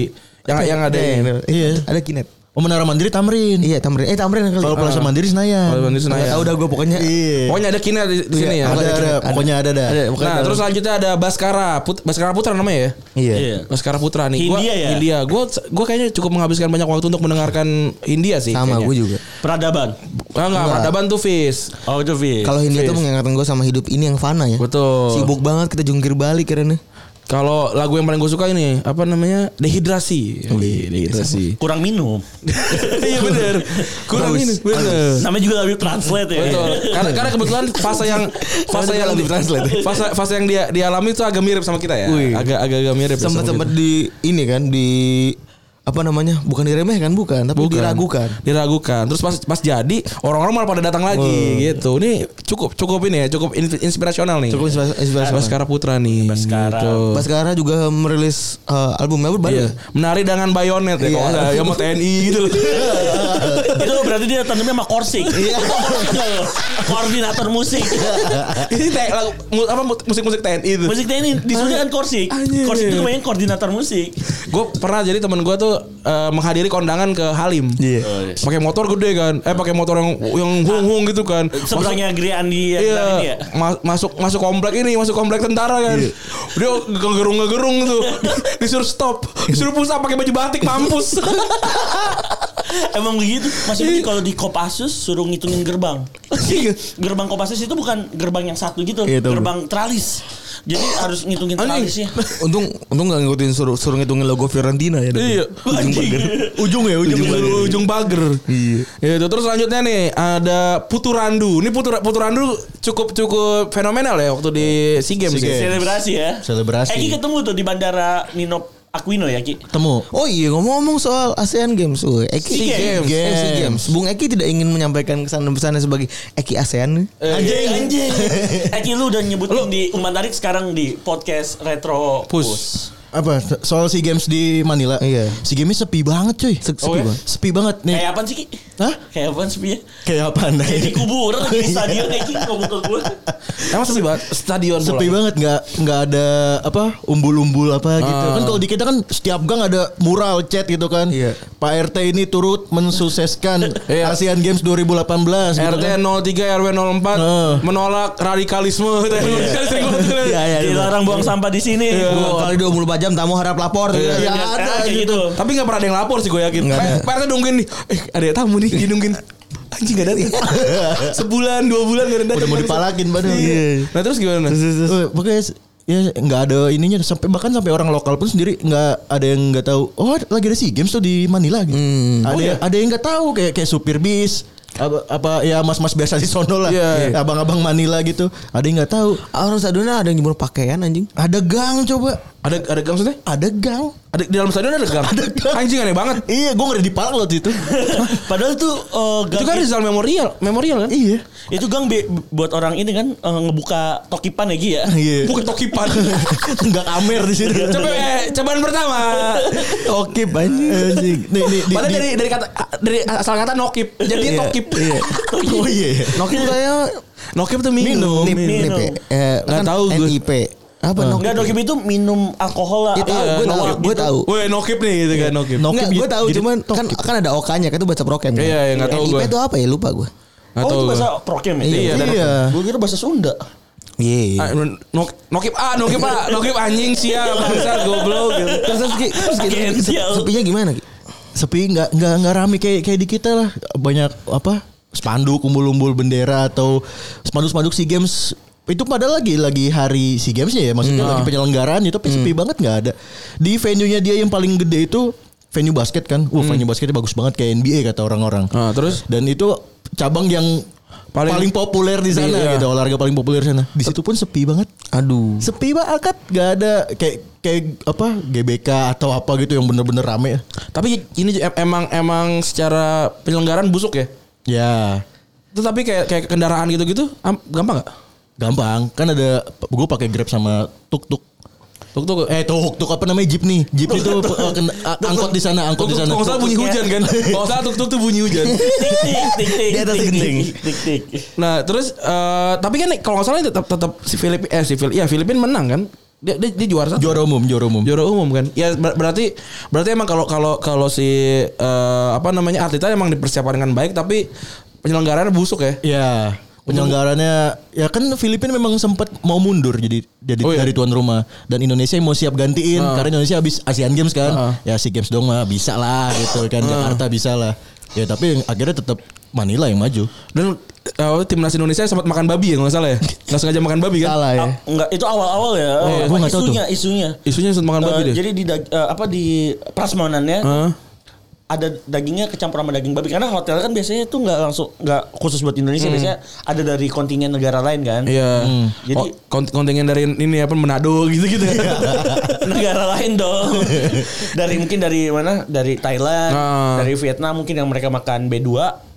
S2: Yang yang ada
S3: Iya,
S2: ini.
S5: Iya.
S3: Ada Kinet.
S5: Oh Menara Mandiri Tamrin.
S3: Iya Tamrin. Eh Tamrin kali.
S5: Kalau
S3: Ah.
S5: Plaza Mandiri Senayan.
S2: Plaza Mandiri Senayan.
S3: Nggak tahu dah gue pokoknya.
S5: Iya.
S2: Pokoknya ada Kinet di di sini ya.
S5: Ada, ada,
S3: Ada.
S5: pokoknya ada dah.
S3: Iya, Ada.
S2: Nah, terus selanjutnya ada Baskara, Put Baskara Putra namanya ya?
S3: Iya.
S4: Iya.
S2: Baskara Putra nih. Gua,
S4: Hindia ya?
S2: Hindia. Gua gua kayaknya cukup menghabiskan banyak waktu untuk mendengarkan India sih.
S3: Sama
S2: kayaknya.
S3: gue juga.
S4: Peradaban.
S2: Ah, enggak, peradaban tuh Fis.
S4: Oh itu Fis.
S3: Kalau Hindia tuh
S2: Fis.
S3: mengingatkan gue sama hidup ini yang fana ya.
S2: Betul.
S3: Sibuk banget kita jungkir balik karena.
S2: Kalau lagu yang paling gue suka ini apa namanya? Dehidrasi. Wih, dehidrasi.
S4: kurang minum.
S2: [LAUGHS] Iya benar. Kurang ini benar.
S4: Namanya juga lebih translate ya.
S2: Betul. Karena karena kebetulan fase yang fase yang fase fase yang dia dialami itu agak mirip sama kita ya.
S3: Wih.
S2: Agak agak agak mirip. ya
S3: Sempat
S2: sama
S3: sempat
S2: kita.
S3: di ini kan di apa namanya? Bukan diremehkan bukan, tapi
S2: Bukan.
S3: diragukan.
S2: Diragukan. Terus pas pas jadi orang-orang malah pada datang lagi gitu. Ini cukup cukup ini ya, cukup in- inspirasional nih.
S3: Cukup inspirasi. inspirasi banget.
S2: Baskara Putra nih.
S4: Baskara.
S2: Gitu.
S3: Baskara juga merilis eh, albumnya berapa?
S2: Iya. Menari dengan bayonet ya kalau
S3: Iya.
S2: nggak, ya mau TNI gitu
S3: [LAUGHS]
S2: loh.
S4: itu berarti dia tandemnya sama Korsik. Koordinator musik.
S2: Ini teh lagu mu- apa mu- musik-musik TNI itu.
S4: musik ini disuruh kan Korsik.
S2: Anjir.
S4: Korsik itu namanya koordinator musik.
S2: Gue pernah jadi teman gue tuh eh, menghadiri kondangan ke Halim.
S3: Iya.
S2: Pakai motor gede kan. Eh pakai motor yang yang hung-hung gitu kan. Masuk-
S4: Sebelahnya Grian di
S2: Iya,
S4: ini ya.
S2: ma- masuk masuk komplek ini, masuk komplek tentara kan.
S3: Iya.
S2: Dia ngegerung ngegerung
S3: [LAUGHS]
S2: tuh, disuruh stop, disuruh push up pakai baju batik
S3: [LAUGHS]
S2: mampus.
S4: Emang begitu. Maksudnya kalau di Kopassus suruh ngitungin gerbang. gerbang Kopassus itu bukan gerbang yang satu gitu,
S3: Iya, tahu.
S4: gerbang tralis. Jadi harus ngitungin ya.
S2: Anjing.
S4: tralisnya.
S3: Untung untung gak ngikutin suruh suruh ngitungin logo Fiorentina ya.
S2: Iya.
S3: Ujung burger. Ujung ya, ujung,
S2: ujung
S3: burger.
S2: ujung pagar.
S3: Iya.
S2: Itu terus selanjutnya nih ada Puturandu. Ini Putur Puturandu cukup cukup fenomenal ya waktu di SEA Games.
S3: SEA
S2: ya.
S3: Games.
S4: Selebrasi ya.
S5: Selebrasi.
S4: Eki ketemu tuh di bandara Nino Aquino ya, Ki.
S5: Temu.
S3: Oh iya ngomong-ngomong soal ASEAN Games, Woy, Eki
S4: SEA Games.
S3: Eh, SEA Games. Bung Eki tidak ingin menyampaikan kesan-pesannya sebagai Eki ASEAN.
S4: Anjing, anjing. Eki lu udah nyebutin di Umpan Tarik sekarang di podcast Retro
S2: Push.
S5: Apa? Soal SEA Games di Manila.
S3: Iya.
S5: SEA Games sepi banget cuy.
S3: Se-
S5: sepi,
S3: sepi
S5: banget.
S3: banget.
S5: sepi banget
S4: Oh,
S5: nih.
S4: ya? Kayak apaan sih, Ki?
S5: Hah?
S4: Kayak apaan sih, Pi?
S5: Kayak apa?
S4: Kayak di kuburan lagi di stadion Eki ngomong ke gue.
S2: Emang sepi banget stadion
S5: sepi
S2: bola.
S5: banget nggak nggak ada apa umbul-umbul apa gitu
S2: Ah.
S5: kan kalau di kita kan setiap gang ada mural cat gitu kan
S3: Iya.
S5: Pak RT ini turut mensukseskan
S2: Iya.
S5: ASEAN Games 2018 gitu
S2: RT
S5: kan.
S2: 03 RW 04
S5: Eh.
S2: menolak radikalisme. [LAUGHS] Sering banget.
S3: Ah. Iya, iya.
S4: Dilarang buang sampah di sini. Oh.
S3: Dua kali 24 jam tamu harap lapor.
S2: Iya.
S3: Ya,
S4: Nah,
S3: ada
S4: kayak
S3: gitu.
S4: gitu.
S2: Tapi gak pernah ada yang lapor sih gue yakin.
S3: Nggak ada.
S2: Pak Pak RT nungguin nih. Eh ada tamu nih dinungguin. Anjing gak datang. Sebulan dua bulan gak ada
S5: udah
S2: datang.
S5: mau dipalakin padahal
S2: Iya. Nah terus gimana?
S5: Eh, pokoknya s- ya nggak ada ininya sampai bahkan sampai orang lokal pun sendiri nggak ada yang nggak tahu oh lagi ada sea games tuh di Manila gitu
S2: Hmm.
S5: ada
S2: Oh, iya.
S5: ada yang nggak tahu kayak kayak supir bis apa, apa ya mas-mas biasa di sono lah
S2: Iya.
S5: abang-abang Manila gitu ada yang nggak tahu
S3: Orang Saduna ada yang jemur pakaian anjing.
S5: ada gang coba
S2: Ada ada gang maksudnya?
S5: ada gang
S2: Ada di dalam stadion ada gang.
S5: Ada gang.
S2: Anjing aneh banget.
S5: Iya, gue ngeri dipalak loh itu.
S4: Padahal tuh eh, gang
S2: Itu kan Rizal Memorial, Memorial kan?
S5: iya.
S4: itu gang be- buat orang ini kan eh, ngebuka tokipan ya Gi ya.
S5: Iya.
S2: Bukan
S4: [LAUGHS]
S2: tokipan.
S5: Enggak kamer di sini.
S2: Coba eh, cobaan pertama.
S3: Oh,
S5: Oke, anjing. Nih, nih, di,
S2: Padahal
S5: di-
S2: dari dari kata dari asal kata nokip. Jadi
S5: Iya,
S2: tokip. [LAUGHS]
S5: Iya. Oh iya. iya.
S3: Nokia kayak
S2: Nokip tuh minum.
S3: nip,
S4: minum.
S3: nip, ya? eh,
S2: Nggak
S3: kan
S2: tahu gue.
S3: NIP. Apa
S4: Enggak
S3: Nokia?
S4: dokim itu minum alkohol lah.
S3: Iya, tahu,
S4: apa,
S3: gue tahu,
S4: lawak
S3: gue
S4: gitu.
S3: tahu.
S2: Weh nokip nih gitu kan nokip.
S5: Nokip
S3: Enggak, gue
S5: jadi-
S3: tahu
S5: jadi
S3: cuman kan kan ada OK-nya kan itu baca prokem. kan?
S2: Iya, iya, nggak tahu
S3: NIP
S2: gue.
S3: itu apa ya? Lupa gue.
S2: Nggak
S4: Oh
S2: tahu
S4: itu
S2: gue.
S4: bahasa prokem ya?
S2: Iya, dari-
S5: Iya.
S4: Gue kira bahasa Sunda.
S3: Iya. iya.
S2: Ah, nok- Nokip ah, nokip ah, nokip anjing siap bangsa goblok gitu.
S3: Terus terus Ki, terus Ki,
S4: Gen,
S3: terus,
S2: Ya
S4: sial.
S3: sepinya gimana Ki?
S5: Sepi enggak enggak enggak rame kayak kayak di kita lah. Banyak apa? Spanduk umbul-umbul bendera atau spanduk-spanduk SEA Games itu padahal lagi lagi hari SEA Gamesnya ya maksudnya
S2: Hmm.
S5: lagi penyelenggaraan itu tapi sepi banget nggak ada di venue-nya dia yang paling gede itu venue basket kan wah venue basketnya bagus banget kayak NBA kata orang-orang
S2: Hmm. Ah, terus
S5: dan itu cabang yang
S2: Paling-
S5: paling, populer di sana
S2: Iya.
S5: gitu olahraga paling populer di sana di situ pun sepi banget
S3: Aduh.
S5: sepi banget gak ada kayak kayak apa GBK atau apa gitu yang bener-bener rame
S2: tapi ini em- emang emang secara penyelenggaraan busuk ya.
S5: ya
S2: Tetapi kayak kayak kendaraan gitu-gitu am- gampang gak?
S5: gampang kan ada gue pakai grab sama tuk tuk
S2: Tuk tuk.
S5: eh tuk tuk apa namanya jeep nih jeep itu eh, kena- a- angkot di sana
S2: Tuk
S5: angkot di
S2: tuk
S5: sana
S2: kalau nggak salah bunyi hujan
S5: [LAUGHS]
S2: kan. Kalau nggak salah tuk tuk tuh bunyi hujan.
S4: Tik tik tik tik.
S3: Di atas
S4: tik,
S3: genting.
S4: tik, Tik tik.
S2: Nah, terus eh, tapi kan kalau nggak salah tetap tetap si Filip eh si Filip ya Filipin menang kan? Dia dia, dia juara satu.
S5: juara umum juara umum
S2: Juara umum kan. Ya ber- berarti berarti emang kalau kalau kalau si eh, apa namanya Arteta emang dipersiapkan dengan baik tapi penyelenggaraannya busuk ya.
S5: Ya, penyelenggarannya ya kan Filipina memang sempat mau mundur jadi jadi
S2: Oh, iya.
S5: dari tuan rumah dan Indonesia mau siap gantiin karena Indonesia habis Asian Games kan.
S2: Ah.
S5: Ya SEA Games dong mah bisa lah gitu kan Jakarta bisa lah. Ya tapi yang akhirnya tetap Manila yang maju.
S2: Dan eh, timnas Indonesia sempat makan babi ya kalau nggak salah ya. Nggak sengaja makan babi kan?
S5: Salah ya.
S4: Enggak, Ah, itu awal-awal ya.
S5: Oh,
S4: Apa
S5: gua nggak tahu
S4: isunya, isunya.
S2: Isunya sempat makan
S4: Eh,
S2: babi deh.
S4: jadi di dag- eh, apa di ya? prasmonannya
S2: Hah?
S4: ada dagingnya kecampur sama daging babi karena hotel kan biasanya tuh nggak langsung nggak khusus buat Indonesia biasanya ada dari kontingen negara lain kan.
S2: Iya. Jadi
S4: Jadi-
S2: kontingen dari ini apa Manado
S4: [LAUGHS]
S2: gitu-gitu.
S4: [LAUGHS] negara lain dong. dari mungkin dari mana? Dari Thailand,
S2: Nah.
S4: dari Vietnam mungkin yang mereka makan B2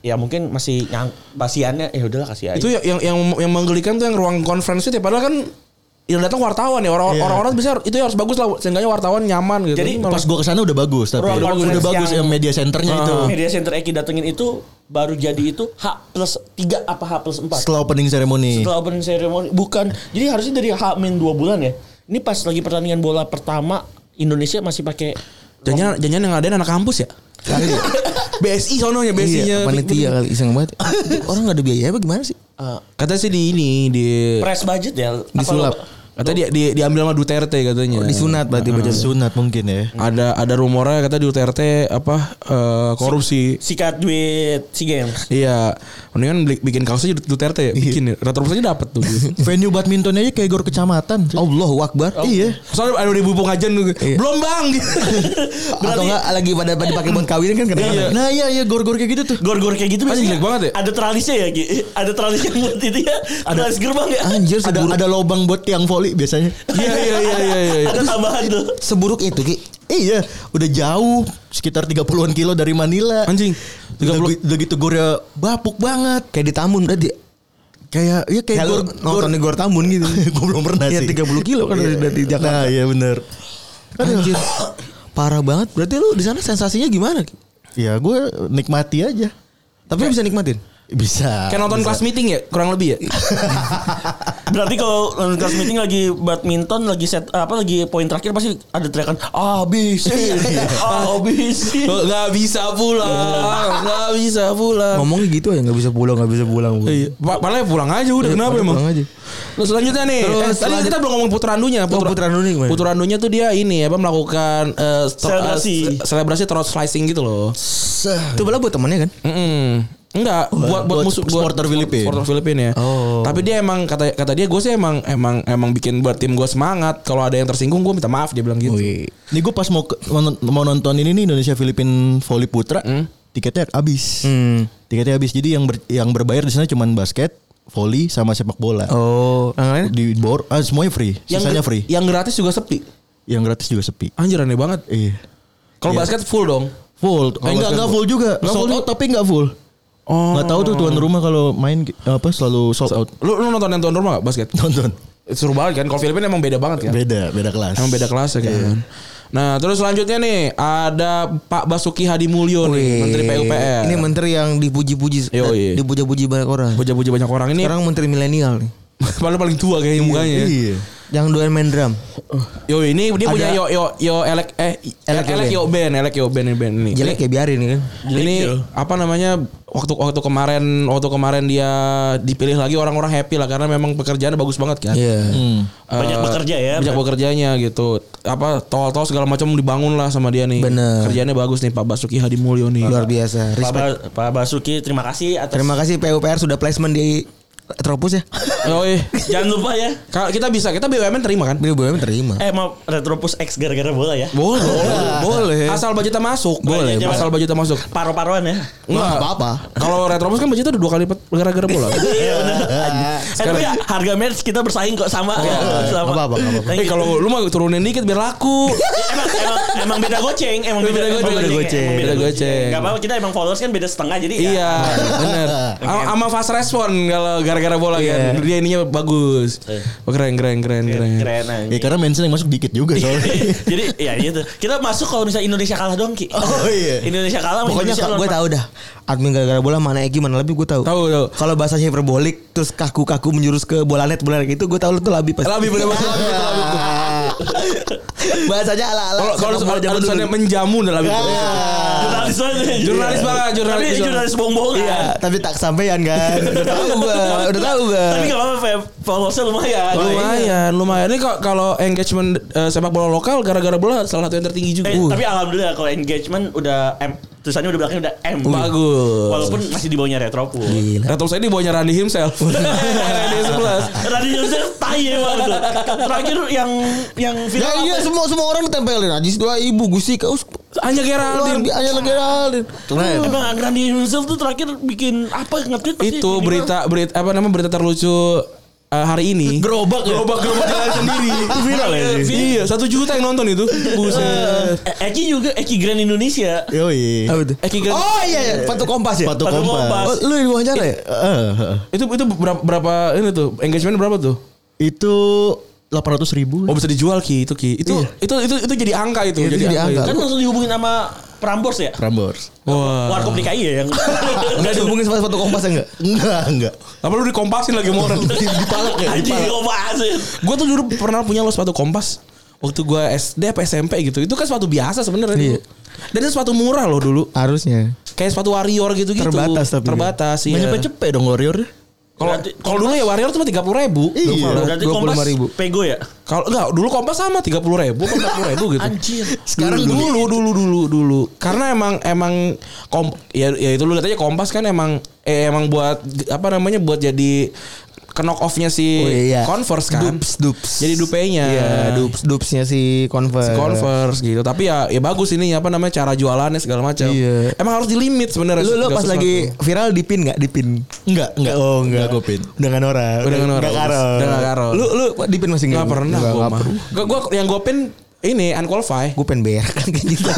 S4: ya mungkin masih yang pasiannya ya udahlah kasih aja.
S2: itu yang yang yang, yang menggelikan tuh yang ruang konferensi itu ya, padahal kan yang datang wartawan ya orang orang orang bisa itu ya harus bagus lah seenggaknya wartawan nyaman gitu.
S4: Iya. Jadi,
S2: Ini malah-
S5: Pas gua kesana udah bagus tapi.
S4: Ruang
S5: Udah,
S4: konferensi
S5: bagus
S4: yang-
S5: yang media centernya itu.
S2: Ah.
S4: Ah. media center Eki datengin itu baru jadi itu H plus 3 apa H plus 4
S5: Setelah opening ceremony.
S4: setelah opening ceremony bukan jadi harusnya dari H min 2 bulan ya ini pas lagi pertandingan bola pertama Indonesia masih pakai
S2: jangan jangan yang ada anak kampus ya. [LAUGHS] BSI sononya BSI-nya.
S3: Iya, panitia kali iseng
S2: [LAUGHS]
S3: banget. Itu Orang nggak ada biaya apa gimana sih?
S4: eh,
S2: Kata sih di ini di
S4: press budget ya apa
S2: disulap.
S4: lo-
S2: Katanya dia, dia- diambil sama Duterte katanya.
S3: Disunat berarti
S5: Hmm.
S3: baca
S5: Sunat mungkin ya.
S2: ada ada rumornya kata Duterte apa eh, korupsi.
S4: sikat duit si games
S2: Iya, mendingan beli- bikin kaos aja Duterte ya,
S3: Iya.
S2: bikin ya. Retrobusnya dapat
S3: [LAUGHS]
S2: tuh.
S5: Venue badminton aja kayak gor kecamatan.
S3: Allahu Akbar.
S5: Iya.
S2: Soalnya ada ibu pengajian tuh.
S3: Iya.
S2: Belum bang.
S3: Atau enggak lagi pada pada dipakai buat kawin kan kena.
S5: Nah iya iya gor-gor kayak gitu tuh.
S4: Gor-gor kayak gitu [LAUGHS] biasanya
S2: jelek banget ya?
S4: Ada teralisnya ya, Ki? Ada teralis yang buat itu ya? Teralis gerbang ya?
S3: Anjir
S5: Ada
S3: seburuk,
S5: ada lobang buat tiang voli biasanya.
S2: Iya iya iya iya iya.
S4: Ada tambahan tuh.
S3: seburuk itu Ki.
S5: Iya, udah jauh sekitar 30-an kilo dari Manila.
S2: Anjing.
S5: Udah, udah gitu gornya bapuk banget.
S3: Kayak di Tamun berarti. Kayak ya kayak
S5: Kayak lu
S3: gor, nonton di Gor Tamun [LAUGHS] gitu.
S5: Gue belum pernah
S3: Iya,
S5: sih.
S3: 30 kilo kan dari- dari Jakarta.
S5: Nah, iya benar.
S3: Anjir. Parah banget. Berarti lu di sana sensasinya gimana? Ki?
S5: Ya gue nikmati aja.
S3: Tapi lu bisa nikmatin.
S5: Bisa.
S2: Kayak nonton kelas meeting ya, kurang
S3: [LAUGHS]
S2: lebih ya.
S4: Berarti kalau eh, kelas meeting lagi badminton, lagi set apa lagi poin terakhir pasti ada teriakan "Oh,
S3: [LAUGHS]
S4: iya, habis.
S3: Iya.
S4: [LAUGHS] Habis.
S2: Gak bisa
S3: Iya.
S2: pulang, gak bisa pulang.
S3: Ngomongnya gitu ya nggak bisa pulang, nggak bisa pulang.
S2: Iya. Pa- Padahal ya pulang aja udah kenapa emang?
S3: Iya, pulang aja.
S2: Terus selanjutnya nih.
S3: Terus
S2: eh, tadi
S3: selanjut-
S2: kita belum ngomong Putra Andunya.
S3: Oh, Putra Andunya gimana?
S2: Putra Andunya tuh dia ini apa melakukan eh, sto-
S4: Selebrasi.
S2: eh, se- selebrasi throat slicing gitu loh.
S3: Itu bola buat temannya kan?
S2: Mm-mm. Enggak, buat buat,
S5: buat
S2: musuh buat
S5: supporter Filipin.
S2: Supporter Filipin ya.
S3: Oh.
S2: Tapi dia emang kata kata dia gue sih emang emang emang bikin buat tim gue semangat. Kalau ada yang tersinggung gue minta maaf dia bilang gitu.
S3: Wih.
S5: Ini gue pas mau ke- mau non- mau nonton ini nih Indonesia Filipin Voli Putra, tiketnya habis.
S3: Hmm.
S5: Tiketnya habis. Jadi yang ber- yang berbayar di sana cuman basket, voli sama sepak bola.
S3: Oh, yang lain?
S5: Di bor ah, semuanya free,
S2: gra-
S5: sisanya
S2: ya.
S5: free.
S2: Yang gratis juga sepi.
S5: Yang gratis juga sepi.
S2: Anjir aneh banget.
S5: Iya.
S2: Kalau basket full dong.
S5: Full.
S2: Kalau
S5: enggak
S2: basket
S5: enggak
S2: full.
S5: full juga.
S2: Nggak
S5: sold
S2: full
S5: out tapi enggak full.
S2: Oh.
S5: Enggak tahu tuh tuan rumah kalau main apa selalu sold out. [LAUGHS]
S2: Lu, lu nonton yang tuan rumah gak basket?
S5: Nonton.
S2: Seru banget kan. Kalau Filipin emang beda banget kan.
S5: Beda, beda kelas. Iya.
S2: Emang beda kelas ya kan.
S3: Iya.
S2: Nah terus selanjutnya nih ada Pak Basuki Hadi Mulyo
S3: Wih.
S2: nih Menteri PUPR.
S3: Ini menteri yang dipuji-puji,
S2: Yoi.
S3: dipuji-puji banyak orang.
S2: puja-puja banyak orang ini.
S3: Sekarang menteri milenial nih.
S2: [LAUGHS] Padahal paling tua kayaknya mukanya. ya.
S5: Iya.
S3: Yang doyan main drum.
S2: Yo ini dia
S3: Ada-
S2: punya yo yo yo elek eh elek
S3: Elek
S2: elek
S3: Yo
S2: yo band elek yo band ini band ini.
S3: Jelek ya biarin kan.
S2: Ini, ini apa namanya waktu waktu kemarin waktu kemarin dia dipilih lagi orang-orang happy lah karena memang pekerjaannya bagus banget kan.
S3: Iya.
S5: Hmm.
S2: Eh,
S4: Banyak bekerja ya.
S2: Banyak bekerjanya gitu. Apa tol-tol segala macam dibangun lah sama dia nih.
S3: Bener.
S2: Kerjanya bagus nih Pak Basuki Hadi Mulyo nih.
S3: Luar biasa.
S4: Pak,
S3: Respect.
S4: Ba- Pak Basuki terima kasih atas
S3: Terima kasih PUPR sudah placement di
S2: [LAUGHS]
S3: Retropus ya.
S2: Oh iya.
S4: Jangan lupa ya.
S2: Ka- kita bisa, kita BUMN terima kan?
S3: Beliau BUMN terima.
S4: Eh mau Retropus X gara-gara bola ya.
S2: Boleh. Boleh. Asal budgetnya masuk. Iya,
S4: Boleh.
S2: Asal budgetnya masuk.
S4: Paro-paroan ya.
S3: Enggak apa-apa.
S2: Kalau Retrobus kan budgetnya udah dua kali lipat gara-gara bola.
S4: Iya
S5: [LAUGHS]
S4: benar. Eh tapi ya, harga merch kita bersaing kok sama. ya. Sama.
S3: Nggak apa-apa, nggak apa-apa.
S4: Thank
S2: Eh
S4: you.
S2: kalau lu mah turunin dikit biar laku.
S4: emang, emang, emang beda goceng, emang
S2: Beda
S4: beda,
S2: goceng.
S4: emang emang
S2: Beda goceng.
S4: Gak apa-apa, kita emang followers kan beda setengah jadi ya.
S2: Iya, benar. Sama fast respon kalau gara-gara bola kan. Dia ininya bagus. Oh, Keren, keren, keren, keren.
S4: keren aja.
S5: Ya karena mention yang masuk dikit juga
S2: [LAUGHS]
S5: soalnya.
S4: [LAUGHS] jadi ya gitu. Kita masuk kalau misalnya Indonesia kalah dong Ki.
S5: Oh, iya.
S4: Indonesia kalah sama
S3: Pokoknya
S4: Indonesia
S3: gue
S4: lawan-
S3: tahu dah. Admin gara-gara bola mana Egi mana lebih gue tahu.
S2: Tahu, tahu.
S3: Kalau bahasanya hiperbolik terus kaku-kaku menjurus ke bola net bola net itu gue tahu lu tuh labi pasti.
S2: Labi bener bener labi,
S3: Iya.
S2: bener, labi.
S3: [LAUGHS] bahasanya ala-ala.
S2: Kalau kalau
S3: sepak bola zaman dulu. Iya.
S2: alasannya menjamu udah Iya. labi.
S4: Jurnalis banget.
S2: Jurnalis banget, jurnalis.
S4: Tapi jurnalis bohong-bohongan.
S3: Iya, tapi tak sampean
S2: [LAUGHS]
S3: kan. Udah tahu gue, udah tahu gue.
S4: Tapi gak apa-apa, Feb. followersnya lumayan. Iya.
S2: Lumayan, lumayan. Ini kok kalau engagement eh, sepak bola lokal gara-gara bola salah satu yang tertinggi juga.
S4: Eh,
S2: Uh.
S4: tapi alhamdulillah kalau engagement udah em- tulisannya udah belakangnya udah M.
S2: Bagus.
S4: Walaupun masih di bawahnya Retropol.
S2: Retro Nah, saya di bawahnya Randy himself. Randy 11.
S4: Tadi Yosef tai emang tuh. Terakhir yang yang
S3: Ya
S4: viral
S3: iya
S4: apa?
S3: semua semua orang ditempelin Ajis dua ibu Gusi kaus
S2: Hanya eh. kayak
S3: luar
S2: Randy.
S3: biasa lagi Geraldin.
S2: Iya.
S4: Emang Agrandi Yosef tuh terakhir bikin apa nge-tweet pasti
S2: Itu
S4: tiba-tiba
S2: berita berita apa namanya berita terlucu eh, hari ini.
S4: gerobak gerobak gerobak jalan sendiri. Itu viral ya.
S2: Iya, satu juta yang nonton itu. Buset. Eh,
S4: Eh, Eki juga Eki Grand Indonesia.
S5: Yoi.
S3: Apa itu?
S2: Eki Grand-
S3: Oh iya iya Patu Kompas ya.
S5: Sepatu
S4: Sepatu kompas.
S5: kompas.
S3: Oh, lu yang diwawancara ya?
S5: Eh, eh.
S2: Itu itu berapa, berapa ini tuh? Engagement berapa tuh?
S5: Itu 800 ribu.
S2: Oh bisa dijual Ki itu Ki. Itu itu, itu itu jadi angka itu.
S3: Itu Iya. jadi angka.
S4: Kan langsung dihubungin sama Prambors ya?
S5: Prambors.
S2: itu. Wah.
S4: Warkop DKI ya yang
S3: Enggak
S4: Enggak
S3: dihubungin sama Patu Kompas ya enggak?
S5: Enggak, enggak.
S2: Apa lu dikompasin lagi sama orang?
S4: dipalak ya. Anjing diopas.
S2: gue tuh dulu pernah punya lo sepatu kompas waktu gue SD apa SMP gitu itu kan sepatu biasa sebenarnya
S3: Iya.
S2: dulu. dan itu sepatu murah loh dulu
S3: Harusnya.
S2: kayak sepatu warrior gitu gitu
S3: Terbatas tapi. ya.
S2: terbatas iya.
S5: Banyak cepet dong Warrior.
S2: kalau kalau dulu ya warrior cuma tiga puluh ribu
S3: Iya.
S4: Berarti kompas
S3: 25.000.
S4: pego ya?
S2: kalau enggak dulu kompas sama tiga puluh ribu empat ribu gitu
S4: Anjir.
S2: sekarang dulu dulu dulu dulu karena emang emang kom ya, ya itu lu lihat aja kompas kan emang eh, emang buat apa namanya buat jadi knock offnya si
S3: Oh, iya.
S2: converse kan
S3: Dups, dups.
S2: jadi dupenya
S3: Iya, dups dupsnya si Converse.
S2: Converse gitu. Tapi ya ya bagus ini apa namanya cara jualannya segala macam.
S3: Iya.
S2: Emang harus dilimit sebenarnya.
S3: Lu lu
S2: segala
S3: pas
S2: sesuatu.
S3: lagi viral di pin enggak di pin?
S5: Enggak, enggak.
S3: Oh enggak.
S5: Enggak gua pin.
S3: Udah enggak Nora.
S2: Udah nggak norak. Udah nggak karo.
S3: Lu lu di pin masih
S2: nggak pernah
S3: Nggak,
S2: gua
S3: nggak
S2: mah.
S3: pernah.
S2: Gua, gua yang gua pin ini unqualified.
S3: Gue pengen berak kan kayak
S2: [LAUGHS]
S3: gitu.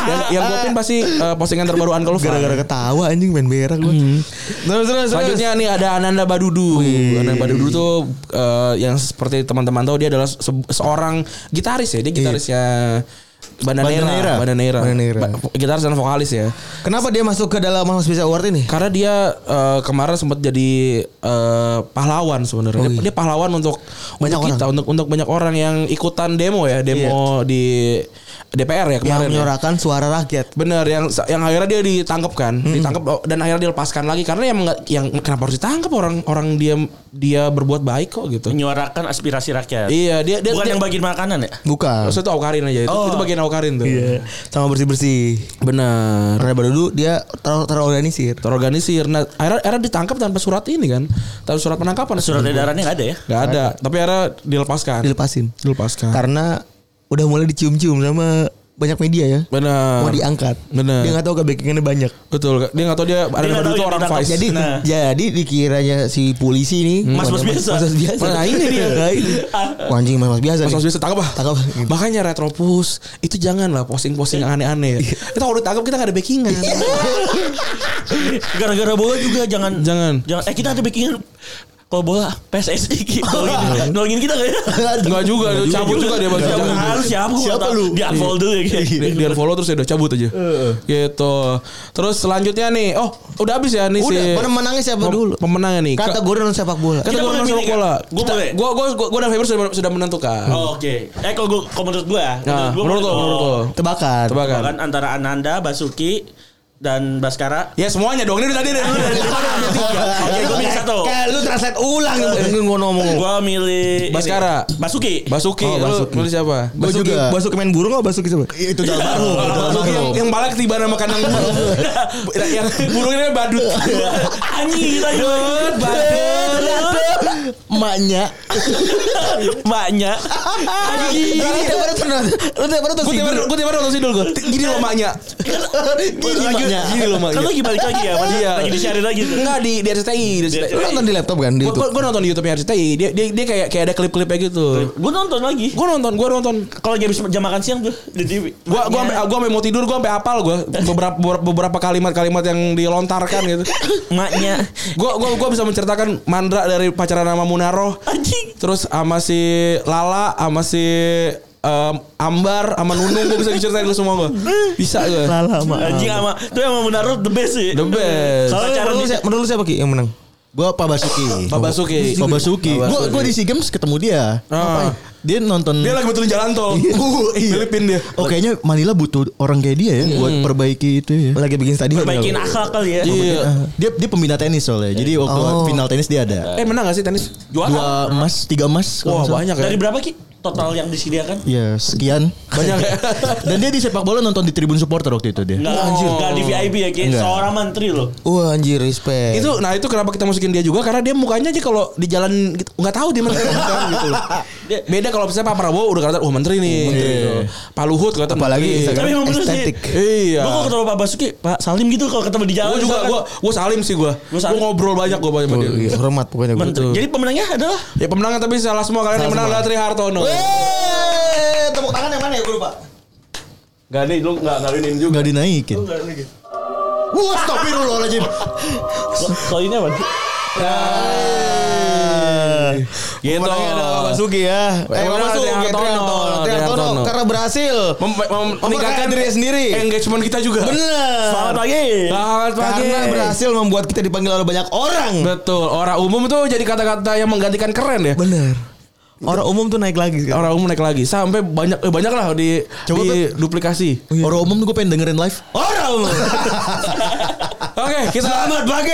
S2: yang, yang gua pin pasti eh, postingan terbaru unqualified.
S3: Gara-gara ketawa anjing pengen berak gue. Terus terus terus.
S2: Hmm. Selanjutnya nih ada Ananda Badudu. Ananda Badudu tuh eh, yang seperti teman-teman tahu dia adalah se- seorang gitaris ya. Dia
S3: Iya.
S2: gitarisnya
S5: Bandaneira.
S2: Bandaneira, Bandaneira,
S3: Bandaneira.
S2: Ba- gitaris dan vokalis ya.
S3: Kenapa dia masuk ke dalam Mas Bisa Award ini?
S2: Karena dia eh, kemarin sempat jadi eh, pahlawan
S4: Oh
S2: sebenarnya.
S4: iya.
S2: Dia, dia pahlawan untuk
S3: Banyak
S2: untuk kita, untuk untuk banyak orang yang ikutan demo ya,
S4: Iya.
S2: demo di DPR ya
S3: Yang
S2: kemarin. ya.
S3: menyuarakan suara rakyat.
S2: Bener yang yang akhirnya dia ditangkap kan, ditangkap dan akhirnya dilepaskan lagi karena yang nggak- yang kenapa harus ditangkap orang orang dia dia berbuat baik kok gitu.
S4: Menyuarakan aspirasi rakyat.
S2: Iya, dia dia
S4: Iya. Bukan
S2: dia,
S4: yang bagiin makanan ya?
S3: Bukan.
S2: Maksudnya itu Aukarin aja itu,
S4: Oh.
S2: itu bagian Aukarin tuh.
S3: Iya. Sama bersih-bersih.
S2: Bener.
S3: Karena baru dulu dia ter- terorganisir.
S2: Terorganisir. Nah, akhirnya, akhirnya ditangkap tanpa surat ini kan. Tanpa surat penangkapan.
S4: Surat edarannya nggak ada ya?
S2: Gak ada. Tapi akhirnya dilepaskan.
S3: Dilepasin.
S2: Dilepaskan.
S3: Karena udah mulai dicium-cium sama banyak media ya.
S2: Benar.
S3: Mau diangkat.
S2: Nah. Benar.
S3: Dia nggak tahu kebaikannya banyak.
S2: Betul. Dia nggak tahu dia ada baru
S4: nggak tahu
S2: itu
S4: yang
S2: orang
S4: ditangkap.
S2: vice.
S3: Jadi
S4: Nah.
S3: jadi dikiranya si polisi ini
S4: Mas-mas biasa.
S3: Mas biasa.
S2: Nah, ini dia.
S3: [LAUGHS] Nah, ini. Wah, anjing mas-mas
S2: Mas
S3: biasa. nih.
S2: Mas tangkap ah.
S3: Tangkap.
S2: Makanya Retropus itu janganlah posting-posting aneh-aneh. ya. Itu kalau ditangkap kita gak ada backingan.
S4: Gara-gara bola juga jangan
S2: Jangan.
S4: jangan eh kita ada backingan kalau bola PSSI gitu. Nolongin, [LAUGHS] nolongin kita nggak ya?
S2: Enggak Oh, iya. juga, dia cabut juga dia pasti.
S4: Siapa
S2: Cabut.
S4: harus siapa?
S5: Siapa lu?
S4: Di unfolder ya
S2: Dia,
S4: kayak.
S2: dia follow terus ya udah cabut aja. Gitu. Terus selanjutnya nih, oh udah habis ya nih si
S3: Udah, pemenangnya siapa
S2: Pem-
S3: dulu?
S2: Pemenangnya nih. Ka-
S3: Kategori non sepak bola.
S2: Kata
S4: Kita
S2: gue
S4: boleh
S2: masuk
S4: milih kan?
S2: bola.
S4: Gua
S2: Kita-
S4: boleh?
S2: Gua gua gua gua dan Faber sudah sudah menentukan.
S4: Oh, Oke. Eh kalau gua kalau menurut gua,
S2: Nah, menurut lo,
S4: gua-
S2: menurut lo. kan.
S4: oh.
S3: Tebakan.
S2: Tebakan.
S4: Bahkan antara Ananda, Basuki dan Baskara.
S2: Ya semuanya dong. Ini udah [LAUGHS] tadi dari dulu dari lima udah ambil tiga.
S4: Oke, gua milih satu.
S3: Kayak lu translate ulang Mungkin gua ngomong.
S4: Gua milih ini.
S2: Baskara.
S4: Basuki.
S2: Basuki,
S3: Oh,
S2: lu
S3: Basuki.
S2: milih siapa?
S3: Gua
S5: Basuki-
S3: juga. Basuki main burung apa Basuki coba?
S5: Itu dalam baru.
S2: Basuki yang, yang balik ketiban sama kandang
S3: [LAUGHS]
S2: yang burungnya badut.
S4: [LAUGHS] Anjing, lanjut.
S5: Emaknya.
S4: Maknya.
S3: Lu tiap hari pernah. Lu tiap hari tuh
S2: Gue tiap hari gue tiap hari nonton sidul gue. Gini loh maknya.
S5: Gini emaknya.
S2: Gini loh
S4: Kan
S2: maknya.
S4: lagi balik lagi ya, Mas?
S2: Iya.
S4: lagi disiarin lagi. tuh.
S2: Enggak di di RCTI. Di RCTI.
S3: Lu nonton di laptop kan di
S2: Gue
S3: YouTube.
S2: gue nonton di YouTube RCTI. Dia dia dia kayak kayak ada klip-klipnya gitu.
S4: Gua nonton lagi.
S2: Gue nonton, gue nonton.
S4: Kalau lagi habis jam makan siang tuh di TV.
S2: Gua
S4: Iya.
S2: gua sampai gua sampai mau tidur gua sampai hafal gua beberapa beberapa kalimat-kalimat yang dilontarkan gitu.
S4: maknya
S2: Gua gua gua bisa menceritakan Mandra dari pacaran sama Munaro.
S4: anjing.
S2: Terus sama si Lala, sama si em, Ambar, sama Nunung gue bisa diceritain lu semua gue. Bisa gue.
S3: Lama.
S4: Anjing sama tuh yang menaruh the best sih.
S2: The best.
S4: Soalnya
S3: Eh, Menurut
S4: cara
S3: lu
S4: di
S3: siapa- menurut lu siapa Ki yang menang?
S5: Gua Pak Basuki.
S2: Pak Basuki.
S5: Pak Basuki.
S2: Pak
S5: Gua
S2: Basuki.
S5: gua di SEA Games ketemu dia.
S2: Ah.
S5: Dia nonton
S2: Dia lagi betulin jalan tol. Uh, Filipin dia.
S5: Oh kayaknya Manila butuh orang kayak dia ya buat
S3: Hmm.
S5: perbaiki itu ya.
S3: Lagi bikin stadion.
S4: perbaikin akal kali ya.
S2: Iya.
S5: Dia dia pembina tenis soalnya. Jadi waktu
S3: Oh.
S5: final tenis dia ada.
S2: Eh menang gak sih tenis?
S5: Dua emas, tiga emas. kalau
S2: Wah
S5: nggak salah.
S2: banyak ya.
S4: Dari berapa Ki? total yang disediakan?
S5: Ya sekian banyak.
S3: ya?
S5: [LAUGHS] Dan dia di sepak bola nonton di tribun supporter waktu itu dia.
S4: Enggak, Iya, enggak di VIP ya, kayak seorang menteri loh.
S3: Wah anjir respect.
S2: Itu nah itu kenapa kita masukin dia juga karena dia mukanya aja kalau di jalan gitu, nggak tahu dia menteri apa bukan gitu loh.
S4: Dia-
S2: Beda kalau misalnya Pak Prabowo udah kelihatan wah menteri nih gitu. Pak Luhut kelihatan
S3: Apalagi
S2: menteri.
S3: Instagram.
S4: Tapi emang bener sih.
S3: Estetik.
S2: Iya.
S4: Gua kalau ketemu Pak Basuki, Pak Salim gitu kalau ketemu di jalan.
S2: Gue juga
S4: misalkan.
S2: gue gue salim sih gue.
S4: Gua
S2: Gue
S4: salim.
S2: ngobrol banyak gue banyak sama dia.
S3: Iya, hormat pokoknya gue.
S4: Menteri. Jadi pemenangnya adalah
S2: Ya pemenangnya tapi salah semua kalian yang menang adalah Tri Hartono.
S5: Tepuk tangan yang mana ya gue lupa.
S2: Gak nih lu gak ngawinin juga.
S5: Gak dinaikin. Wah stop dulu loh lagi.
S4: kalau ini apa?
S3: Eh.
S2: Gitu.
S3: Pemenangnya ada Pak Basuki ya.
S2: Eh, Pak Basuki,
S3: Tri
S2: Tri Hartono,
S3: Hartono,
S2: Tri
S3: Tri Hartono,
S2: Hartono.
S3: karena berhasil.
S2: Mem- mem- meningkatkan
S3: diri sendiri.
S2: Engagement kita juga.
S3: Bener.
S4: Selamat pagi.
S2: Selamat pagi.
S3: Karena berhasil membuat kita dipanggil oleh banyak orang.
S2: Betul. Orang umum tuh jadi kata-kata yang menggantikan keren ya.
S3: Bener. Orang umum tuh naik lagi sekarang.
S2: Orang umum naik lagi sampai banyak eh, banyak lah di
S5: Coba,
S2: di duplikasi.
S3: Iya.
S5: Orang umum tuh gue pengen dengerin live.
S3: Orang umum.
S2: [LAUGHS] Oke, kita
S3: Selamat pagi.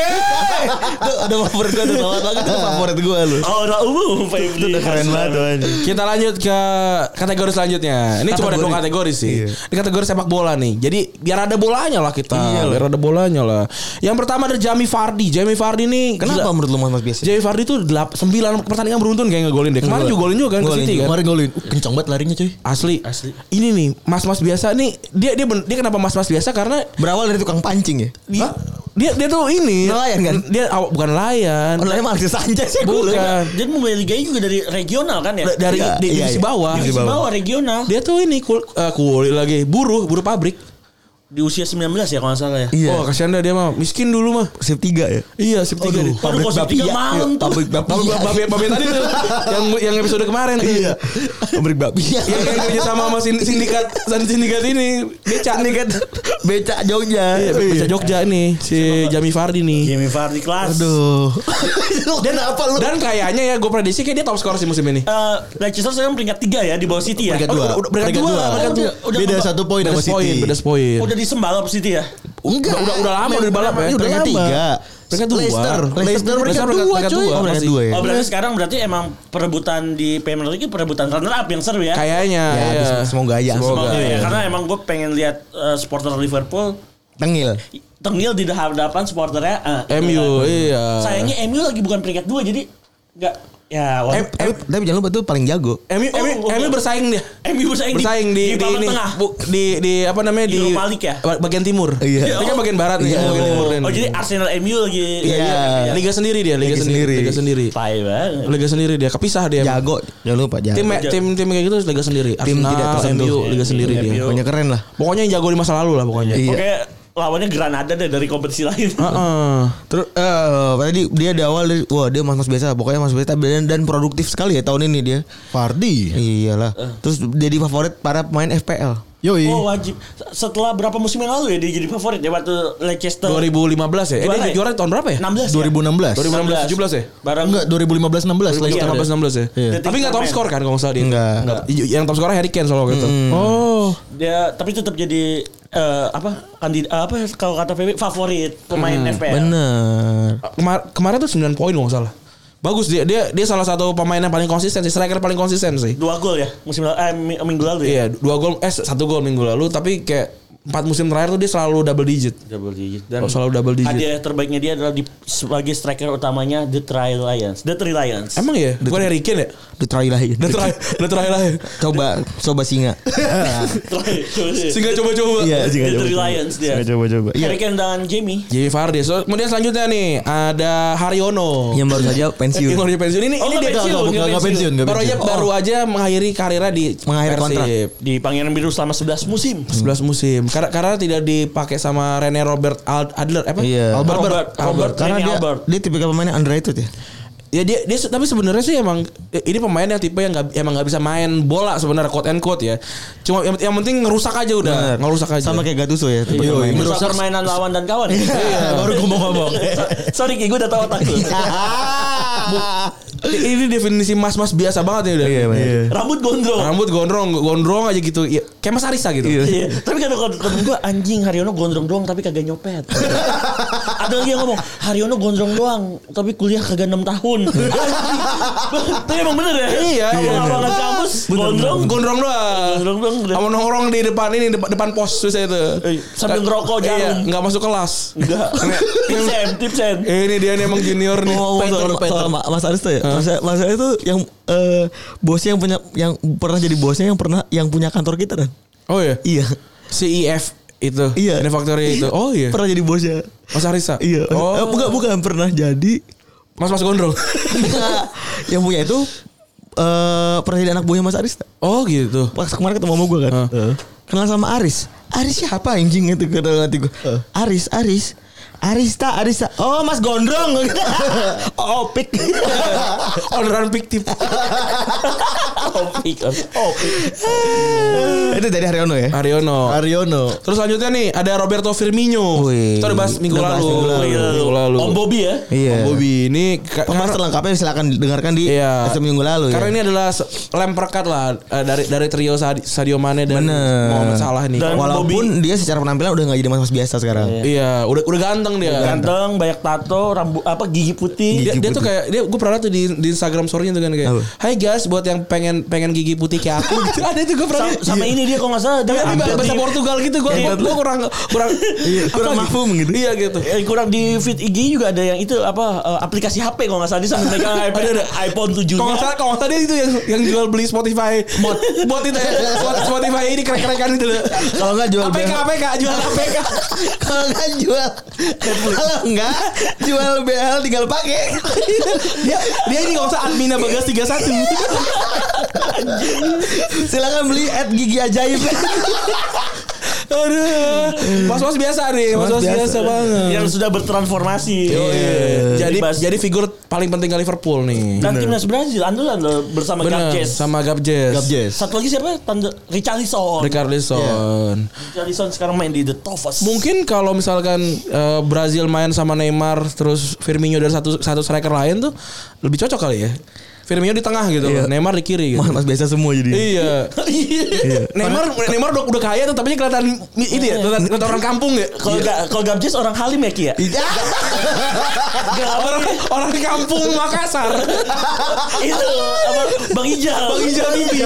S3: Tuh, ada favorit gue tuh selamat pagi tuh favorit gue lu.
S4: Orang umum Pak Ibnu.
S3: Keren banget tuh anjing.
S2: kita lanjut ke kategori selanjutnya. Ini cuma ada dua kategori sih.
S3: Iya.
S2: Ini kategori sepak bola nih. Jadi biar ada bolanya lah kita.
S3: Iya
S2: biar ada bolanya lah. Yang pertama ada Jamie Vardy. Jamie Vardy nih
S3: Kenapa
S2: gila.
S3: menurut lu Mas Biasa?
S2: Jamie Vardy tuh 9 pertandingan beruntun kayak ngegolin deh. Kemarin juga golin juga kan ke
S5: Golin
S2: City
S5: juga.
S2: kan.
S5: Kemarin golin. Uh, kencang banget larinya cuy.
S2: Asli. Asli. Ini nih mas-mas biasa nih dia dia ben- dia kenapa mas-mas biasa karena
S3: Berawal dari tukang pancing ya?
S2: dia dia, dia tuh ini
S3: Nelayan kan?
S2: Dia aw- bukan nelayan.
S3: Online malah Alexis Sanchez ya gue.
S2: Bukan.
S4: Jadi Mobile Liga juga dari regional kan ya?
S2: Da- Iya. Dari
S3: Iya,
S2: di-
S3: iya,
S2: divisi
S3: iya.
S2: bawah.
S4: Divisi bawah regional.
S2: Dia tuh ini kul, eh, kuli lagi buruh, buruh pabrik.
S4: Di usia 19 ya kalau nggak salah ya.
S3: Iya.
S2: Oh, kasihan dah dia mah. Miskin dulu mah.
S3: Sip 3 ya.
S2: Iya, sip tiga deh.
S4: Oh, Aduh, kok jam
S2: iya.
S4: tiga malam tuh.
S3: Pabrik babi.
S2: Babi babi babi tadi tuh yang yang episode kemarin.
S3: Iya. Pabrik babi. Eh,
S2: Yang yang kerja sama sama sin- sindikat dan sindikat ini beca sindikat
S3: Becak Jogja.
S2: iya, beca Jogja ini si Jami Fardi nih.
S4: Jamie Vardy Iya, kelas.
S3: Aduh. [LAUGHS] Dan apa lu?
S2: Dan kayaknya ya gue prediksi kayak dia top skor sih musim ini.
S4: Eh, Leicester sekarang peringkat 3 ya di bawah City ya.
S5: Peringkat
S2: Udah,
S5: dua.
S2: udah, peringkat dua, peringkat
S5: Udah,
S4: dua.
S5: udah Beda
S4: Udah-
S5: satu poin sama
S2: Bedes poin,
S5: City.
S2: bedes iya, poin.
S4: Udah disembal sama City ya.
S3: Enggak. Iya,
S2: Udah- udah- udah lama udah dibalap ya.
S3: Udah
S5: Peringkat
S3: lama.
S5: tiga.
S2: Peringkat dua.
S3: Leicester.
S2: Leicester
S3: Leicester peringkat
S2: peringkat-
S3: dua
S2: peringkat
S3: cuy.
S2: dua.
S3: Oh, peringkat
S2: Masih.
S3: dua ya.
S4: Oh berarti sekarang berarti emang perebutan di Premier League perebutan runner up yang seru ya.
S2: Kayaknya.
S3: Ya,
S2: iya.
S3: habis- semoga aja.
S2: Semoga. Iya.
S4: Semoga ya. Karena emang gue pengen lihat eh, supporter Liverpool
S3: Tengil.
S4: tengil di hadapan supporternya eh,
S2: MU, iya.
S4: Sayangnya MU lagi bukan peringkat 2 jadi nggak ya wah-
S2: M-
S3: Tapi, tapi jangan lupa tuh paling jago.
S2: MU,
S4: Oh,
S2: MU,
S4: oh,
S2: MU
S4: oh.
S2: bersaing dia.
S4: MU bersaing di-
S2: bersaing di,
S4: di
S2: di,
S4: papan
S2: ini,
S4: tengah.
S2: Bu, di di apa namanya di
S4: Europa League ya?
S2: bagian timur.
S3: Iya.
S2: Ini kan bagian barat nih, bagian timur.
S4: Oh,
S2: dan-
S4: oh, jadi Arsenal MU lagi
S3: Iya.
S2: Liga sendiri dia, liga, sendiri,
S3: Liga sendiri.
S2: liga sendiri.
S4: Tai banget.
S2: Liga sendiri dia, kepisah dia. emang.
S3: Jago. Ya, Jangan lupa jago.
S2: Tim tim tim kayak gitu liga sendiri.
S3: Tim
S2: Arsenal,
S3: tidak tersentuh.
S2: MU liga sendiri dia.
S4: MU.
S3: Pokoknya keren lah.
S2: Pokoknya yang jago di masa lalu lah pokoknya.
S3: Iya.
S4: Oke, lawannya Granada deh dari kompetisi lain.
S2: Heeh.
S3: Terus eh tadi dia di awal dari- wah dia mas-mas biasa pokoknya mas biasa dan, dan produktif sekali ya tahun ini dia.
S5: Fardi.
S3: Iyalah. Terus jadi favorit para pemain FPL.
S4: [LAUGHS] Eh.
S5: Yoi.
S4: Oh wajib. Setelah berapa musim yang lalu ya dia jadi favorit ya waktu Leicester.
S2: 2015 ya. Eh, dia
S4: Juara ya?
S2: juara tahun berapa ya?
S4: 16 ya?
S5: 2016.
S2: 2016 17 ya?
S4: Barang
S5: Enggak 2015 16
S4: Iya.
S2: 2015 16 ya.
S5: Iya.
S2: Tapi enggak top
S4: Detik
S2: skor kan kalau enggak salah dia.
S3: Nggak.
S2: Yang top skornya Harry Kane soalnya gitu. Oh.
S4: dia tapi tetap jadi eh, apa kandidat apa ya kalau kata PB favorit pemain
S2: Hmm.
S4: FPL.
S3: Bener.
S2: Kemar- kemarin tuh 9 poin kalau nggak salah. Bagus dia dia dia salah satu pemain yang paling konsisten sih, striker paling konsisten sih.
S4: Dua gol ya musim lalu eh, mi- minggu lalu ya.
S2: Iya, dua gol eh satu gol minggu lalu tapi kayak empat musim terakhir tuh dia selalu double digit.
S4: Double digit dan
S2: Oh, selalu double digit.
S4: hadiah terbaiknya dia adalah di- sebagai striker utamanya The Tri Lions. The Tri Lions. [LAUGHS]
S2: Emang ya? Bukan Harry Kane ya?
S3: Udah try lah.
S2: Udah terakhir, udah terakhir lah. ya.
S3: Coba coba singa.
S2: Sehingga coba-coba.
S4: Iya, The Three Lions dia.
S5: coba. Iya.
S4: Harry Kane dan Jamie.
S2: Jadi Vardy. So, kemudian selanjutnya nih ada Haryono.
S3: Yang baru saja pensiun.
S2: Yang baru Iya, dia pensiun ini ini
S4: Oh, nggak
S2: dia
S4: pensiun,
S2: gagal,
S4: nggak
S2: gagal
S5: pensiun, nggak
S2: Baru aja
S5: pensiun.
S2: baru aja mengakhiri karirnya di
S3: Mengakhiri kontrak.
S2: Persib.
S4: Di Pangeran Biru selama 11 musim.
S2: 11 musim. Karena karena tidak dipakai sama Rene Robert Al- Adler apa?
S3: Iya.
S2: Albert Albert.
S4: Albert, Iya. Albert.
S3: Karena
S4: Jamie
S3: dia
S4: Albert. Iya.
S3: dia tipikal pemain yang underrated ya.
S2: Ya dia dia se- tapi sebenarnya sih emang eh, ini pemain yang tipe yang nggak emang nggak bisa main bola sebenarnya quote and quote ya. Cuma yang, yang penting ngerusak aja udah, ngerusak aja.
S3: Sama kayak Gattuso ya. tipe
S4: Merusak
S3: pemain.
S4: permainan lawan dan kawan. Iya, baru gue mau ngomong. Iya. Sorry Ki, gue udah tahu otak lu.
S2: ini definisi mas-mas biasa banget ya udah.
S3: Iya, bener.
S4: Rambut gondrong.
S2: Rambut gondrong, gondrong aja gitu. Ya, kayak Mas Arisa gitu.
S4: Iya. Tapi kan kalau temen gue anjing Haryono gondrong doang [LAUGHS] tapi kagak nyopet. Ada lagi yang ngomong Haryono gondrong doang tapi kuliah kagak 6 tahun. [LAUGHS] Rimbun. Tapi emang bener ya?
S2: Iya, iya.
S4: Abang-abangan kampus gondrong
S2: gondrong doang.
S4: Gondrong doang.
S2: Sama nongkrong di depan ini depan, depan pos susah itu.
S4: Eh, sambil ngerokok jarum.
S2: iya, nggak masuk kelas.
S4: [LAUGHS] Enggak. Iya. Tipsen, tipsen. [LAUGHS]
S2: Eh, ini dia nih emang junior nih.
S3: Ngomong soal,
S2: Peter, Peter.
S3: soal Ma- Mas Aris tuh ya. Mas, Mas Aris tuh yang eh, bosnya yang punya yang pernah jadi bosnya yang pernah yang punya kantor kita kan.
S2: Oh iya.
S3: Iya.
S2: CEF itu.
S3: Iya.
S2: Manufactory itu. Oh iya.
S3: Pernah jadi bosnya.
S2: Mas Arisa.
S3: Iya.
S2: Oh.
S3: Eh, bukan bukan pernah jadi
S2: Mas Mas Gondrong.
S3: Enggak. yang punya itu eh pernah jadi anak buahnya Mas Aris. tak?
S2: oh gitu.
S3: Pas kemarin ketemu sama gue kan.
S2: Heeh.
S3: Kenal sama Aris. Aris siapa anjing itu kata hati gue. Aris, Aris. Arista, Arista. Oh, Mas Gondrong. [LAUGHS] oh, pik.
S2: Orderan fiktif.
S4: Opik. Opik.
S3: itu dari Haryono ya.
S2: Ariono.
S5: Aryono.
S2: Terus selanjutnya nih ada Roberto Firmino.
S3: Wih.
S2: Kita udah bahas minggu
S3: Udah bahas
S2: lalu.
S3: minggu lalu.
S2: Minggu lalu.
S4: Om Bobby ya.
S2: Om
S3: Iya.
S2: Bobby ini ka-
S3: Pembahasan lengkapnya silakan dengarkan di
S2: Iya.
S3: episode minggu lalu
S2: Karena
S3: ya.
S2: ini adalah se- lem perkat lah eh, dari dari trio Sadi- Sadio Mane dan
S3: Bener.
S2: Mohamed Salah nih.
S4: Dan-
S3: Walaupun dia secara penampilan udah nggak jadi mas-mas biasa sekarang.
S2: iya, udah udah ganteng dia.
S4: Ganteng, banyak tato, rambu apa gigi putih.
S2: Dia, dia tuh kayak dia gue pernah tuh di, di Instagram story-nya tuh kan kayak
S3: Apa?
S2: Hai guys buat yang pengen pengen gigi putih kayak aku gitu. Ada itu gue pernah
S4: Sa- Sama
S2: Iya.
S4: ini dia kalau nggak salah dia
S2: Tapi
S4: update
S2: bahasa
S4: di-
S2: Portugal gitu gue
S4: Iya.
S2: gue kurang kurang
S3: kurang
S2: apa
S3: mafhum gitu.
S2: Iya gitu.
S4: Eh, kurang di feed IG juga ada yang itu apa eh, aplikasi HP kalau nggak salah dia sambil
S2: [LAUGHS]
S4: megang iPhone,
S2: Ada, ada.
S4: iPhone
S3: Iya.
S4: 7
S2: Kalau nggak salah, kalau nggak salah dia itu yang yang jual beli Spotify bot bot itu ya. Bot Spotify ini krek-krekan itu. loh.
S3: Kalau nggak jual
S2: APK
S3: BL.
S2: APK jual APK.
S3: Kalau nggak jual, kalau nggak jual BL tinggal [LAUGHS] pakai.
S2: Dia dia ini nggak usah adminnya bagas 31.
S3: silakan beli at gigi ajaib.
S2: Aduh. Mas-mas biasa nih, mas-mas
S3: biasa. Iya.
S2: biasa banget.
S4: Iya.
S2: Iya. Oh,
S4: yang sudah bertransformasi. Iya.
S2: Jadi
S4: Dibahas-
S2: jadi figur paling penting ke Liverpool nih.
S4: dan Kan timnas Brazil andalan loh bersama
S2: Bener,
S4: Gabjes.
S2: sama Gabjes.
S5: Gabjes.
S4: Satu lagi siapa? Tanda Richarlison.
S2: Richarlison.
S3: Iya.
S4: Richarlison sekarang main di The Toughest. [LAUGHS]
S2: Mungkin kalau misalkan eh, Brazil main sama Neymar terus Firmino dan satu satu striker lain tuh lebih cocok kali ya. Firmino di tengah gitu,
S3: Iya.
S2: Neymar di kiri gitu.
S3: [LAUGHS] Mas-mas biasa semua jadi.
S2: Iya. Neymar Neymar udah, udah kaya tuh tapi kelihatan itu ya, kelihatan, kelihatan orang kampung ya.
S4: Kalau ga, kalau Gabjes orang Halim ya Ki ya?
S2: Iya. [LAUGHS] orang, orang kampung Makassar.
S4: [LAUGHS] itu apa Bang Ijal. Iya, Bang Ijal Bibi.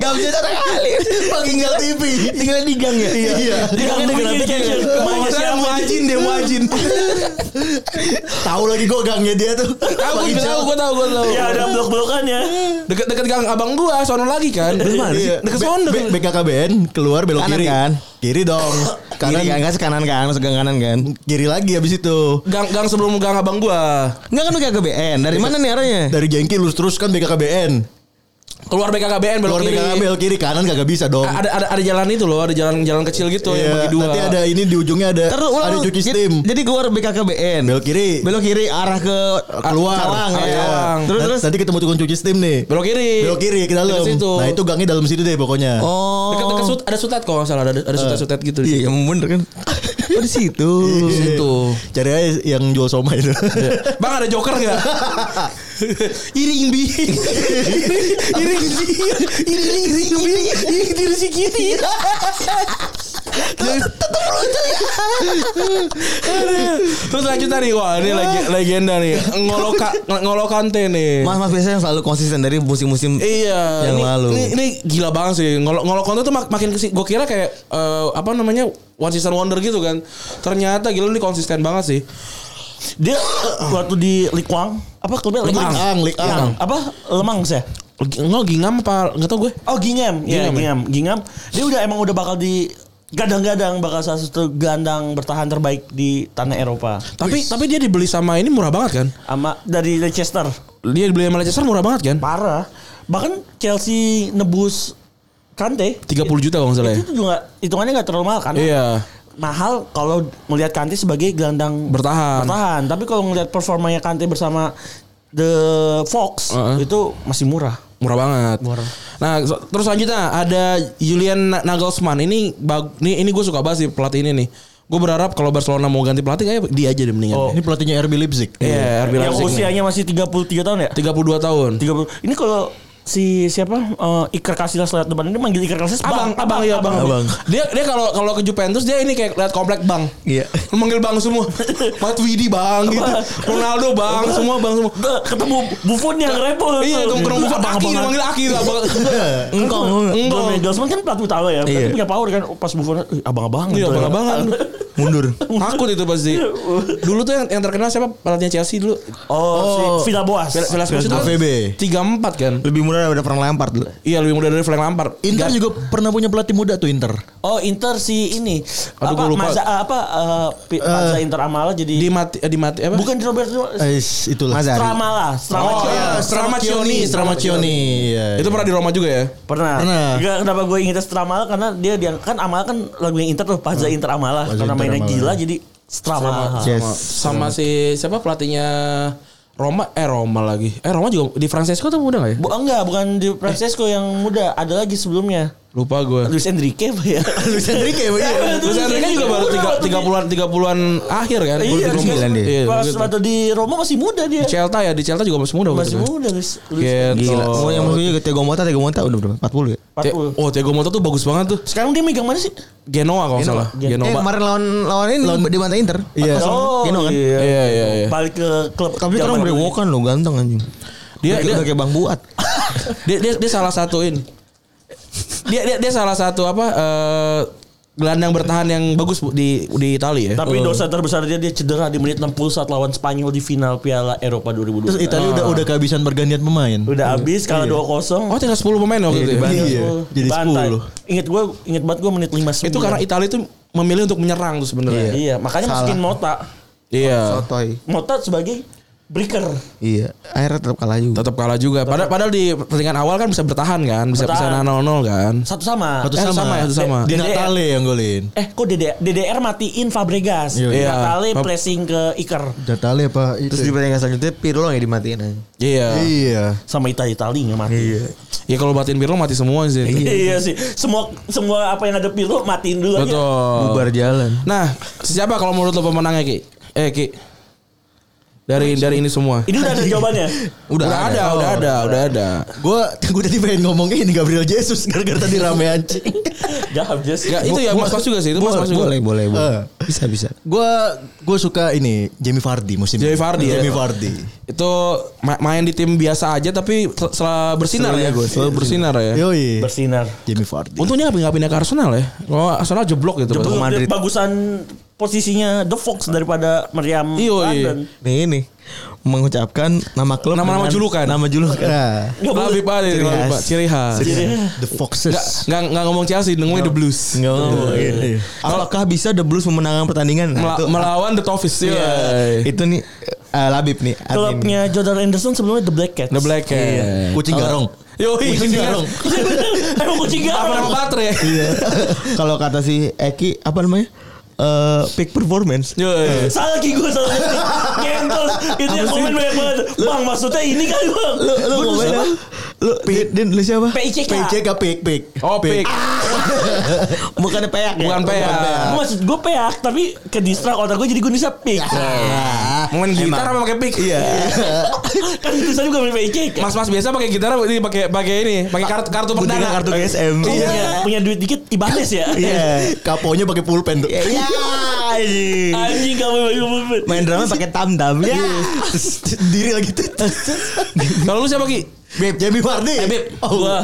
S3: Gak bisa tak kali. Pakai tinggal TV, tinggal di gang ya. Iya.
S4: Dia kan dengan application
S2: Mau
S4: kemana siapa
S2: muajin deh muajin.
S3: Tahu lagi gue gangnya dia tuh.
S2: Aku
S3: Bang
S2: gue
S3: Ical.
S2: tahu, gue tahu, gue tahu.
S4: Ya ada blok-blokan ya.
S2: Deket-deket gang abang gua, sono lagi kan.
S3: mana sih?
S5: Iya.
S2: Deket sono.
S5: B- B- BKKBN keluar belok
S3: Kanan
S5: kiri
S3: kan?
S5: Kiri
S3: [LAUGHS]
S5: dong.
S3: Kanan
S5: Kanan
S3: kan, kan kanan kan, masuk gang kanan kan.
S5: kiri lagi habis itu.
S2: Gang gang sebelum gang abang gua.
S3: Enggak kan lu kayak ke BN. Dari mana nih arahnya?
S5: Dari jengki lurus terus kan BKKBN.
S2: Keluar BKKBN belok
S5: Keluar
S2: kiri.
S5: BKKBN belok kiri kanan kagak bisa dong. Iya.
S2: Ada ada ada jalan itu loh, ada jalan jalan kecil gitu yang bagi dua.
S5: nanti ada ini di ujungnya ada
S3: Terus ulang
S5: ada
S3: lu.
S5: cuci
S3: Jadi-
S5: steam.
S3: Jadi keluar BKKBN.
S5: Belok kiri.
S3: Belok kiri arah ke
S5: keluar.
S3: Cawang
S5: Iya.
S3: ya.
S2: Cawang.
S5: Terus terus tadi ketemu tukang cuci steam nih.
S2: belok kiri.
S5: Belok kiri ke dalam.
S2: Deket situ.
S5: Nah, itu gangnya dalam situ deh pokoknya.
S3: Oh.
S2: Dekat-dekat sut ada sutet kok nggak salah ada ada
S5: Eh.
S2: sutet-sutet gitu.
S3: Iya, yang bener kan. [LAUGHS] Oh di situ. Iya.
S2: Di situ.
S5: Cari aja yang jual somai itu.
S2: Bang ada joker nggak?
S5: [LAUGHS]
S2: iring bi, iring bi, iring iring bi, iring diri si kiri.
S5: Iya. ya.
S2: Terus lanjut nih wah ini lagi legenda nih ngoloka ngolokante nih.
S3: Mas Mas biasanya selalu konsisten dari musim-musim
S2: Iya.
S3: Yang
S2: ini,
S3: lalu.
S2: Ini, ini gila banget sih. Ngolok ngolok konten tuh mak- makin kesini. Gue kira kayak eh, apa namanya one season wonder gitu kan. Ternyata gila ini konsisten banget sih.
S4: Dia waktu di Likwang apa klubnya Likwang?
S5: Ang, lik ang.
S4: Apa Lemang sih?
S2: Nggak gingam apa nggak tau gue.
S4: Oh Gingham, ya
S2: Gingham, ya?
S4: Gingham, Gingham. Dia udah emang udah bakal di gadang-gadang bakal salah satu gelandang bertahan terbaik di tanah Eropa.
S2: Tapi tapi dia dibeli sama ini murah banget kan?
S4: Ama dari Leicester.
S2: Dia dibeli sama Leicester murah banget kan?
S4: Parah. Bahkan Chelsea nebus Kante
S2: 30 juta kalau nggak salah ya.
S4: itu juga hitungannya nggak terlalu mahal kan?
S2: Iya.
S4: Mahal kalau melihat Kante sebagai gelandang
S2: Bertahan.
S4: bertahan. Tapi kalau melihat performanya Kante bersama The Fox
S2: Heeh.
S4: itu masih murah.
S2: Murah banget.
S4: Murah.
S2: Nah, so- terus selanjutnya ada Julian Na- Nagelsmann. Ini bag, ini, ini gue suka banget sih pelatih ini nih. Gue berharap kalau Barcelona mau ganti pelatih kayak dia aja deh mendingan.
S4: Oh.
S5: [LAUGHS] Ini pelatihnya RB Leipzig.
S2: Iya, RB
S4: Yang
S2: Leipzig nih.
S4: usianya masih 33 tahun ya?
S2: 32 tahun.
S4: 30. Ini kalau si siapa Eh, Iker Casillas lewat depan ini manggil Iker Casillas
S2: Abang, abang, ya abang.
S3: Abang.
S2: Dia dia kalau kalau ke Juventus dia ini kayak lihat komplek bang.
S3: Iya.
S2: Manggil bang semua. Matuidi bang gitu. Ronaldo bang semua bang semua.
S4: Tuh, ketemu Buffon yang repot
S2: Iya, itu ketemu bukan Aki dipanggil Aki itu abang.
S3: Engkong.
S4: Engkong Nagelsmann kan pelaku utama ya berarti
S3: Iya.
S4: punya power kan pas Buffon "Ih, abang-abang
S2: [LAUGHS] Iya,
S4: gitu ya.
S2: abang-abangan.
S3: Mundur.
S2: Takut itu pasti. Dulu tuh yang, yang terkenal siapa? Pelatihnya Chelsea dulu.
S4: oh, si Villa Boas
S2: Villa Villa Boas itu kan
S5: AVB.
S2: 3-4 kan.
S3: Lebih murah daripada Frank Lampard dulu.
S2: Iya lebih muda dari Frank Lampard.
S5: Inter
S2: Gar-
S5: juga pernah punya pelatih muda tuh Inter.
S4: oh Inter si ini
S2: Aduh,
S4: apa
S2: gua lupa.
S4: Maza apa eh, Pi- Maza Inter Amala
S2: di
S4: jadi
S2: mati eh, di mati apa?
S4: bukan di Roberto
S5: Ais, itulah.
S3: Mazari.
S4: Stramala
S2: Oh,
S4: Stramala
S2: iya. Stramacioni, Stramacioni.
S5: Iya.
S2: Itu pernah di Roma juga ya?
S4: Pernah.
S5: Pernah.
S4: Nggak, kenapa gue ingetnya Stramala karena dia dia kan Amala kan lagu yang Inter tuh Paza Inter Amala
S5: Paza
S4: karena
S5: Inter
S4: mainnya
S5: Amala.
S4: gila jadi Stramala.
S3: Yes.
S2: Sama si siapa pelatihnya Roma eh Roma lagi. Eh Roma juga di Francesco tuh muda gak ya?
S4: Bu, enggak, bukan di Francesco yang muda, ada lagi sebelumnya.
S2: Lupa gue.
S4: Luis Enrique apa ya? Luis Enrique apa ya?
S2: Iya, Terus iya. Enrique juga baru tiga, 30-an 30-an akhir kan?
S4: Iya,
S3: 29 dia.
S2: Iya,
S4: Pas
S2: gitu.
S4: waktu di Roma masih muda dia.
S2: Di Celta ya, di Celta juga masih muda
S4: Masih
S2: waktu itu.
S4: muda Luis. Luis.
S2: Gitu.
S3: Gila. Oh, yang maksudnya juga Tego Mota, Tego Mota udah berapa? 40 ya?
S2: Te-
S4: 40.
S2: Oh, Thiago Motta tuh bagus banget tuh.
S4: Sekarang dia megang mana sih?
S2: Genoa kalau nggak salah.
S3: Eh,
S2: Genoa.
S3: kemarin lawan lawan ini di bantai Inter.
S5: Iya.
S4: Oh,
S3: Gino kan?
S4: iya.
S2: Iya, iya, iya.
S4: Balik ke klub.
S3: Tapi
S4: zaman
S3: sekarang udah
S4: dulu.
S3: wokan loh ganteng anjing.
S2: Dia
S3: Udah-
S2: dia
S3: udah kayak Bang Buat.
S2: dia dia, dia salah satuin dia dia dia salah satu apa eh, gelandang bertahan yang bagus Bu, di di Italia ya.
S4: Tapi dosa terbesar dia dia cedera di menit 60 saat lawan Spanyol di final Piala Eropa 2020.
S5: Terus Italia udah udah kehabisan pergantian pemain.
S4: Udah habis kalah 2-0.
S2: Oh tinggal 10 pemain waktu itu. ya?
S5: dibantai. Iya, jadi
S4: Bantai.
S5: 10.
S4: Ingat gue, ingat banget gue menit 59.
S2: Itu karena Italia itu memilih untuk menyerang tuh
S4: Iya,
S2: sebenarnya.
S4: Iya, makanya masukin Mota.
S2: Iya.
S3: Sotoy.
S4: Mota sebagai breaker.
S3: Iya, akhirnya tetap kalah juga.
S2: Tetap kalah juga. Padahal padahal di pertandingan awal kan bisa bertahan kan, bisa bisa
S4: Bertahan.
S2: 0-0 kan.
S4: Satu sama.
S5: Satu
S2: Eh,
S5: sama.
S2: sama ya, satu sama.
S5: Di
S4: DDR.
S5: Natale yang golin.
S4: Eh, kok DDR, DDR matiin Fabregas.
S5: Iya.
S4: Iya. Natale
S2: Fab-
S4: placing ke Iker
S3: ya,
S5: Natale apa itu?
S3: Terus di pertandingan selanjutnya Pirlo yang dimatiin aja.
S2: Iya.
S5: Iya.
S4: sama Italia Italia nggak mati. Iya. [LAUGHS]
S2: Ya kalau batin Pirlo mati semua sih.
S4: sih. Semua semua apa yang ada Pirlo matiin dulu aja.
S2: Betul.
S3: Bubar jalan.
S2: Nah, siapa kalau menurut lo pemenangnya Ki? Eh Ki. Dari dari ini semua.
S4: Ini udah ada jawabannya.
S2: Udah, ada, udah ada, udah ada.
S5: Gue gue tadi pengen ngomong ini Gabriel Jesus gara-gara tadi rame anjing.
S4: [LAUGHS] Jahat Jess.
S2: Ya, itu ya mas-mas juga sih, itu mas-mas juga.
S3: Boleh, boleh, boleh.
S5: Eh.
S3: Iya. Bisa, bisa.
S5: Gue gue suka ini Jamie Vardy musim
S2: Jamie
S5: ini.
S2: Vardy ya.
S5: Jamie Vardy.
S2: itu ma- main di tim biasa aja tapi sel- selalu bersinar
S5: Selalu
S2: ya
S5: jago,
S2: selalu bersinar ya
S5: Yoi.
S4: Bersinar.
S5: Jamie Vardy.
S2: untungnya nggak nggak pindah ke Arsenal ya kalau Arsenal jeblok gitu
S4: Jeblok,
S2: Pas-
S4: dia
S3: Madrid.
S4: Bagusan posisinya The Fox daripada Meriam
S2: Iya, iya.
S3: Nih ini mengucapkan nama klub
S2: Nama-nama
S5: kan.
S3: dengan-
S2: julukan.
S3: Nama Iya. julukan.
S5: Nah,
S4: Nggak boleh.
S2: lebih parah
S3: Ciri
S2: lebih
S3: khas.
S2: parah ciri khas
S5: The
S2: nggak
S5: Foxes. Iya.
S2: nggak nggak ngomong Chelsea ngomongin the Blues
S3: Iya. Nggak mau. Iya. Apakah bisa The Blues memenangkan pertandingan? Nah,
S2: Mela-
S3: itu,
S2: melawan the Toffees ya
S3: itu nih eh, Labib nih. admin.
S4: Klubnya Jordan Anderson sebelumnya The Black Cats.
S2: the Black Cat
S5: Kucing garong.
S2: yo
S5: Kucing garong.
S4: [LAUGHS] Emang kucing
S2: apa
S4: garong.
S2: nama baterai
S3: Kalau kata si Iya, Eki apa namanya? Eh, peak performance.
S2: yo
S4: Salah ki gue salah ngerti. Gentos Itu yang komen banyak banget Bang maksudnya ini kan bang
S5: Lu lu
S4: Gua tuh
S5: ngomongin
S4: siapa?
S5: apa?
S3: Lu Din, Din, lu siapa?
S4: PICK
S5: PJK Eh, pik pik.
S2: oh pick
S3: Bukan peak. ya?
S2: bukan
S4: Gue
S2: PA
S4: maksud gue peak Tapi ke distract otak gue jadi gue bisa pick
S5: Iya.
S2: main gitar apa pakai pick iya
S4: Kan tulisannya bukan pakai PICK
S2: mas-mas biasa pakai gitar apa ini pakai pakai ini pakai kartu kartu
S3: Guntingan
S2: perdana
S3: kartu GSM.
S4: Punya, punya duit dikit Ibanez ya
S5: Iya. Kaponya pakai pulpen tuh.
S3: Iya. anjing.
S4: Anjing kamu
S3: Main [LAUGHS] drama pakai tam tam. Ya.
S5: Terus Diri lagi tuh.
S2: kalau lu siapa Ki
S5: Beb, Jamie Vardy.
S4: Eh Beb
S5: Oh.
S4: Gue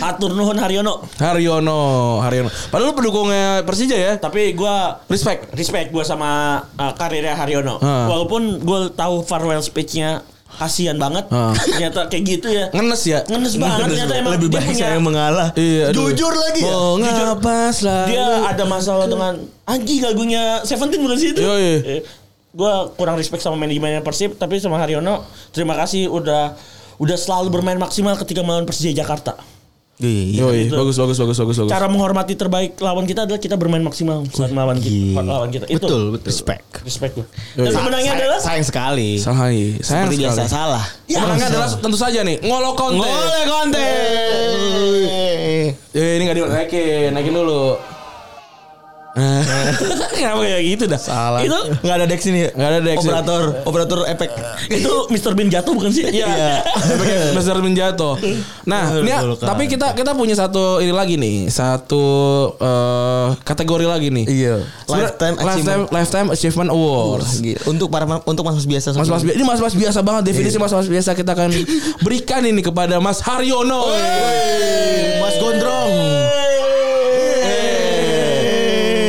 S4: Atur Nuhun Haryono
S2: Haryono, Haryono. Padahal lu pendukungnya Persija ya.
S4: Tapi gue
S2: Respect.
S4: Respect gue sama uh, karirnya Haryono
S2: Ah.
S4: Walaupun gue tahu farewell speech-nya Kasian banget
S2: Ah.
S4: Ternyata kayak gitu ya
S2: Ngenes ya.
S4: Ngenes banget ternyata emang
S3: Lebih
S4: dia
S3: baik
S4: punya-
S3: saya yang mengalah.
S2: Iya. aduh.
S5: Jujur lagi ya?
S3: Iya.
S2: Mengapa selalu
S4: dia ada masalah dengan anjing lagunya Seventeen bukan sih itu.
S2: Yoi.
S4: Eh, Gua kurang respect sama manajemennya Persib tapi sama Haryono terima kasih udah udah selalu bermain maksimal ketika melawan Persija Jakarta.
S3: Iya.
S2: Yoi, bagus bagus bagus bagus bagus.
S4: Cara menghormati terbaik lawan kita adalah kita bermain maksimal saat melawan kita. Lawan kita. Itu
S5: Betul, betul. Respect.
S4: respect gua.
S2: Yoi.
S4: Dan pemenangnya
S3: Sayang-
S4: adalah
S3: sayang sekali.
S2: Sahai, sayang
S3: Seperti biasa
S2: sekali.
S3: salah.
S2: Ya, Menangnya adalah tentu saja nih Ngolo Conte.
S3: Ngoleh Conte.
S2: Iya,
S3: [LAUGHS]
S2: Eh, ini gak dinaikin, naikin dulu.
S4: Kenapa kayak gitu dah?
S2: Salah.
S4: Itu
S3: Enggak ada Dex ini. ya?
S2: Nggak ada Dex.
S3: Operator, operator efek.
S4: itu Mr. Bean jatuh bukan sih? Iya.
S2: Besar
S3: [LAUGHS]
S2: menjatuh.
S3: Iya.
S2: Nah, ini ya, tapi kita kita punya satu ini lagi nih, satu eh, kategori lagi nih.
S3: Iya.
S2: Sebenarnya-
S3: Lifetime
S2: lifetime,
S3: Achievement.
S2: lifetime achievement awards.
S3: Gila. Untuk para untuk mas-mas biasa.
S2: Mas Mas ini Mas Mas biasa banget definisi Mas Mas biasa kita [LAUGHS] akan berikan ini kepada Mas Haryono.
S5: Mas Gondrong.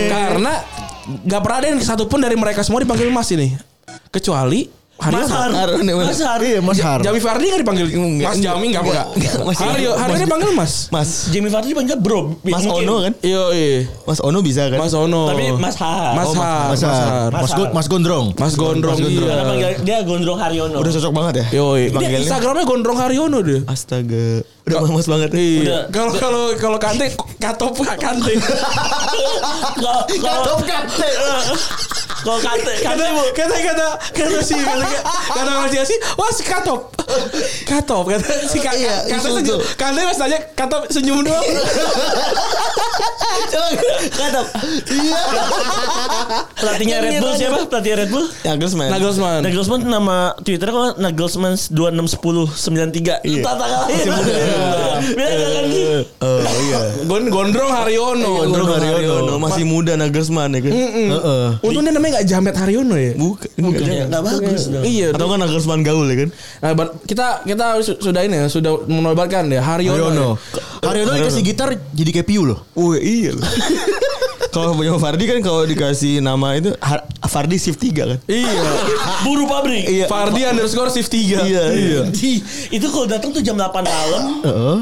S2: Karena nggak pernah ada yang satupun dari mereka semua dipanggil Mas ini. Kecuali
S4: Mas Har.
S2: Haryono.
S4: Mas Har.
S5: Iya, Mas Har.
S2: Jami Fardi nggak dipanggil Mas Jami nggak nggak.
S3: Nggak, Mas-
S2: Haryo
S3: Mas-
S2: Haryono dipanggil Mas.
S3: Mas.
S4: Jimmy Fardi dipanggil bro.
S3: Mas
S4: Mungkin.
S3: Ono kan?
S2: Yo,
S3: Mas Ono bisa kan?
S2: Mas Ono.
S4: Tapi Mas Har.
S2: Mas
S4: Oh,
S2: Har. Mas
S5: Mas Har.
S2: Har.
S5: Mas, Go- Mas Gondrong.
S2: Mas Gondrong.
S4: Karena
S2: Iya.
S4: panggil dia Gondrong Haryono.
S3: Udah cocok banget ya?
S2: Yoi. Dia
S3: Dipanggilnya.
S2: Instagramnya Gondrong Haryono dia.
S3: Astaga. Udah mas banget.
S2: Iya. Kalau kalau kalau kante katop kante. [LAUGHS]
S4: Kalau kalau kalau kate
S2: Kata
S4: kate bu-
S2: kata kata kata si kata kata kata si wah si
S3: [LAUGHS]
S2: katop katop kata si kata
S3: Iya,
S2: kata
S3: itu
S2: senyum
S3: tuh.
S2: kante pas tanya katop senyum
S3: [LAUGHS]
S2: doang
S4: kate
S3: Iya.
S4: pelatihnya Red Bull siapa? Pelatih Red Bull?
S3: Nagelsmann.
S2: Nagelsmann
S4: Nagelsmann nama Twitternya kalau Nagelsmann 261093. Itu tata kali. Iya. Biar nggak kan sih.
S3: Oh iya.
S2: Gon Gondrong Haryono
S3: Gondrong Haryono masih muda Nagelsmann ya kan? Heeh.
S2: untung dia namanya nggak Jamet Haryono ya
S3: Bukan. Bukan.
S4: Nggak bagus. dong.
S2: iya
S3: Atau kan Nagelsmann gaul ya kan?
S2: Nah, bar- kita kita su- sudah ini ya, sudah menobatkan ya
S5: Haryono.
S2: Haryono.
S5: Haryono dikasih gitar jadi kayak piu loh.
S3: Wah iya loh. [LAUGHS] kalau punya Fardi kan kalau dikasih nama itu Har- Fardi Shift 3 kan?
S2: Iya.
S4: Buru pabrik.
S3: Iya.
S2: Fardi underscore shift 3.
S3: Iya, iya.
S4: Di, itu kalau datang tuh jam 8 malam,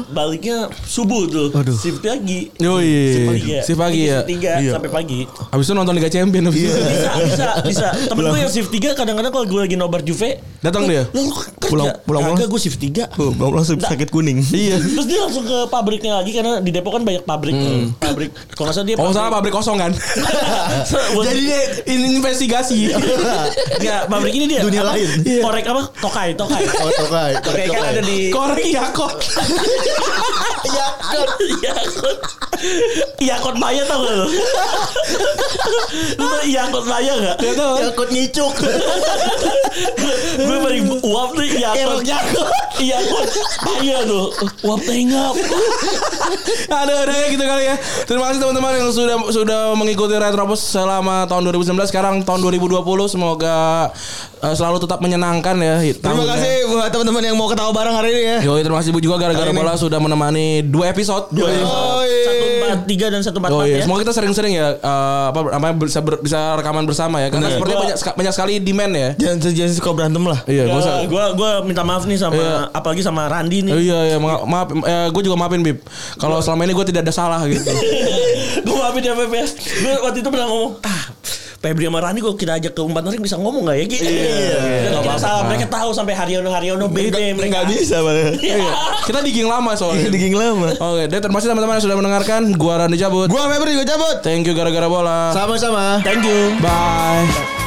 S4: baliknya subuh tuh.
S5: Aduh.
S4: Shift lagi.
S2: Yoi. Shift pagi ya.
S4: Shift 3
S3: Iya.
S4: sampai pagi.
S2: Habis itu nonton Liga Champion habis itu.
S4: Bisa, bisa, bisa. Temen gue yang shift 3 kadang-kadang kalau gue lagi nobar Juve,
S2: Datang dia.
S4: lalu kerja.
S3: Pulang- pulang-
S4: Kagak,
S3: pulang.
S4: gue shift 3.
S3: Tuh, belum langsung sakit kuning. Iya.
S4: Terus dia langsung ke pabriknya lagi karena di Depok kan banyak pabrik. Pabrik. Kalau nggak salah dia
S2: Oh salah pabrik kosong kan?
S3: [LAUGHS]
S4: [LAUGHS]
S2: Jadi dia in- investigasi.
S4: Enggak, pabrik ini dia.
S5: Dunia
S4: apa?
S5: lain.
S4: Korek apa? Tokai, tokai.
S5: Oh, tokai.
S4: Tokai kan ada di
S2: [LAUGHS] Korek ya kok.
S4: Iya, Yakut Yakut Iya, Maya tau gak lo? Lu tau Yakut Maya gak?
S2: Gak tau.
S3: Iya.
S5: Takut ngicuk.
S4: Gue paling uap tuh iya Yakut Yakut Maya tuh Uap tengap
S2: Ada ada kayak gitu kali ya. Terima kasih teman-teman yang sudah sudah mengikuti Retropus selama tahun 2019 sekarang tahun 2020 semoga eh, selalu tetap menyenangkan ya.
S3: Terima
S2: tahunnya.
S3: kasih buat teman-teman yang mau ketawa bareng hari ini ya.
S2: Yoi terima kasih Bu juga gara-gara
S3: Hari ini.
S2: bola sudah menemani dua episode. Dua
S3: Yoi.
S4: Satu empat tiga dan satu empat
S2: iya. Oh
S4: empat
S2: iya,
S4: ya
S2: semoga kita sering-sering ya eh, apa namanya bisa ber- bisa rekaman bersama ya karena sepertinya
S4: Gua-
S2: banyak seka- banyak sekali demand ya.
S3: Jangan jangan suka berantem lah.
S4: Eh,
S2: Iya, gua sa-
S4: Gue gue minta maaf nih sama
S2: Iya.
S4: apalagi sama Randi nih.
S2: Iya iya ma- maaf gue juga maafin Bib. Kalau selama ini gue tidak ada salah gitu.
S4: gue maafin ya Feb ya. Gue waktu itu pernah ngomong ah Febri sama Rani kalau kita ajak ke umpan tarik bisa ngomong gak ya Ki? Iya. Gak masalah. Mereka tahu sampai Haryono Haryono BB mereka.
S3: Enggak bisa padahal.
S4: Iya.
S2: Kita diging lama
S3: Iya,
S2: soalnya.
S3: diging lama.
S2: Oke, dan terima kasih teman-teman yang sudah mendengarkan. Gua Randy cabut.
S3: Gua Febri, gua cabut.
S2: Thank you gara-gara bola.
S5: Sama-sama.
S4: Thank you.
S2: Bye.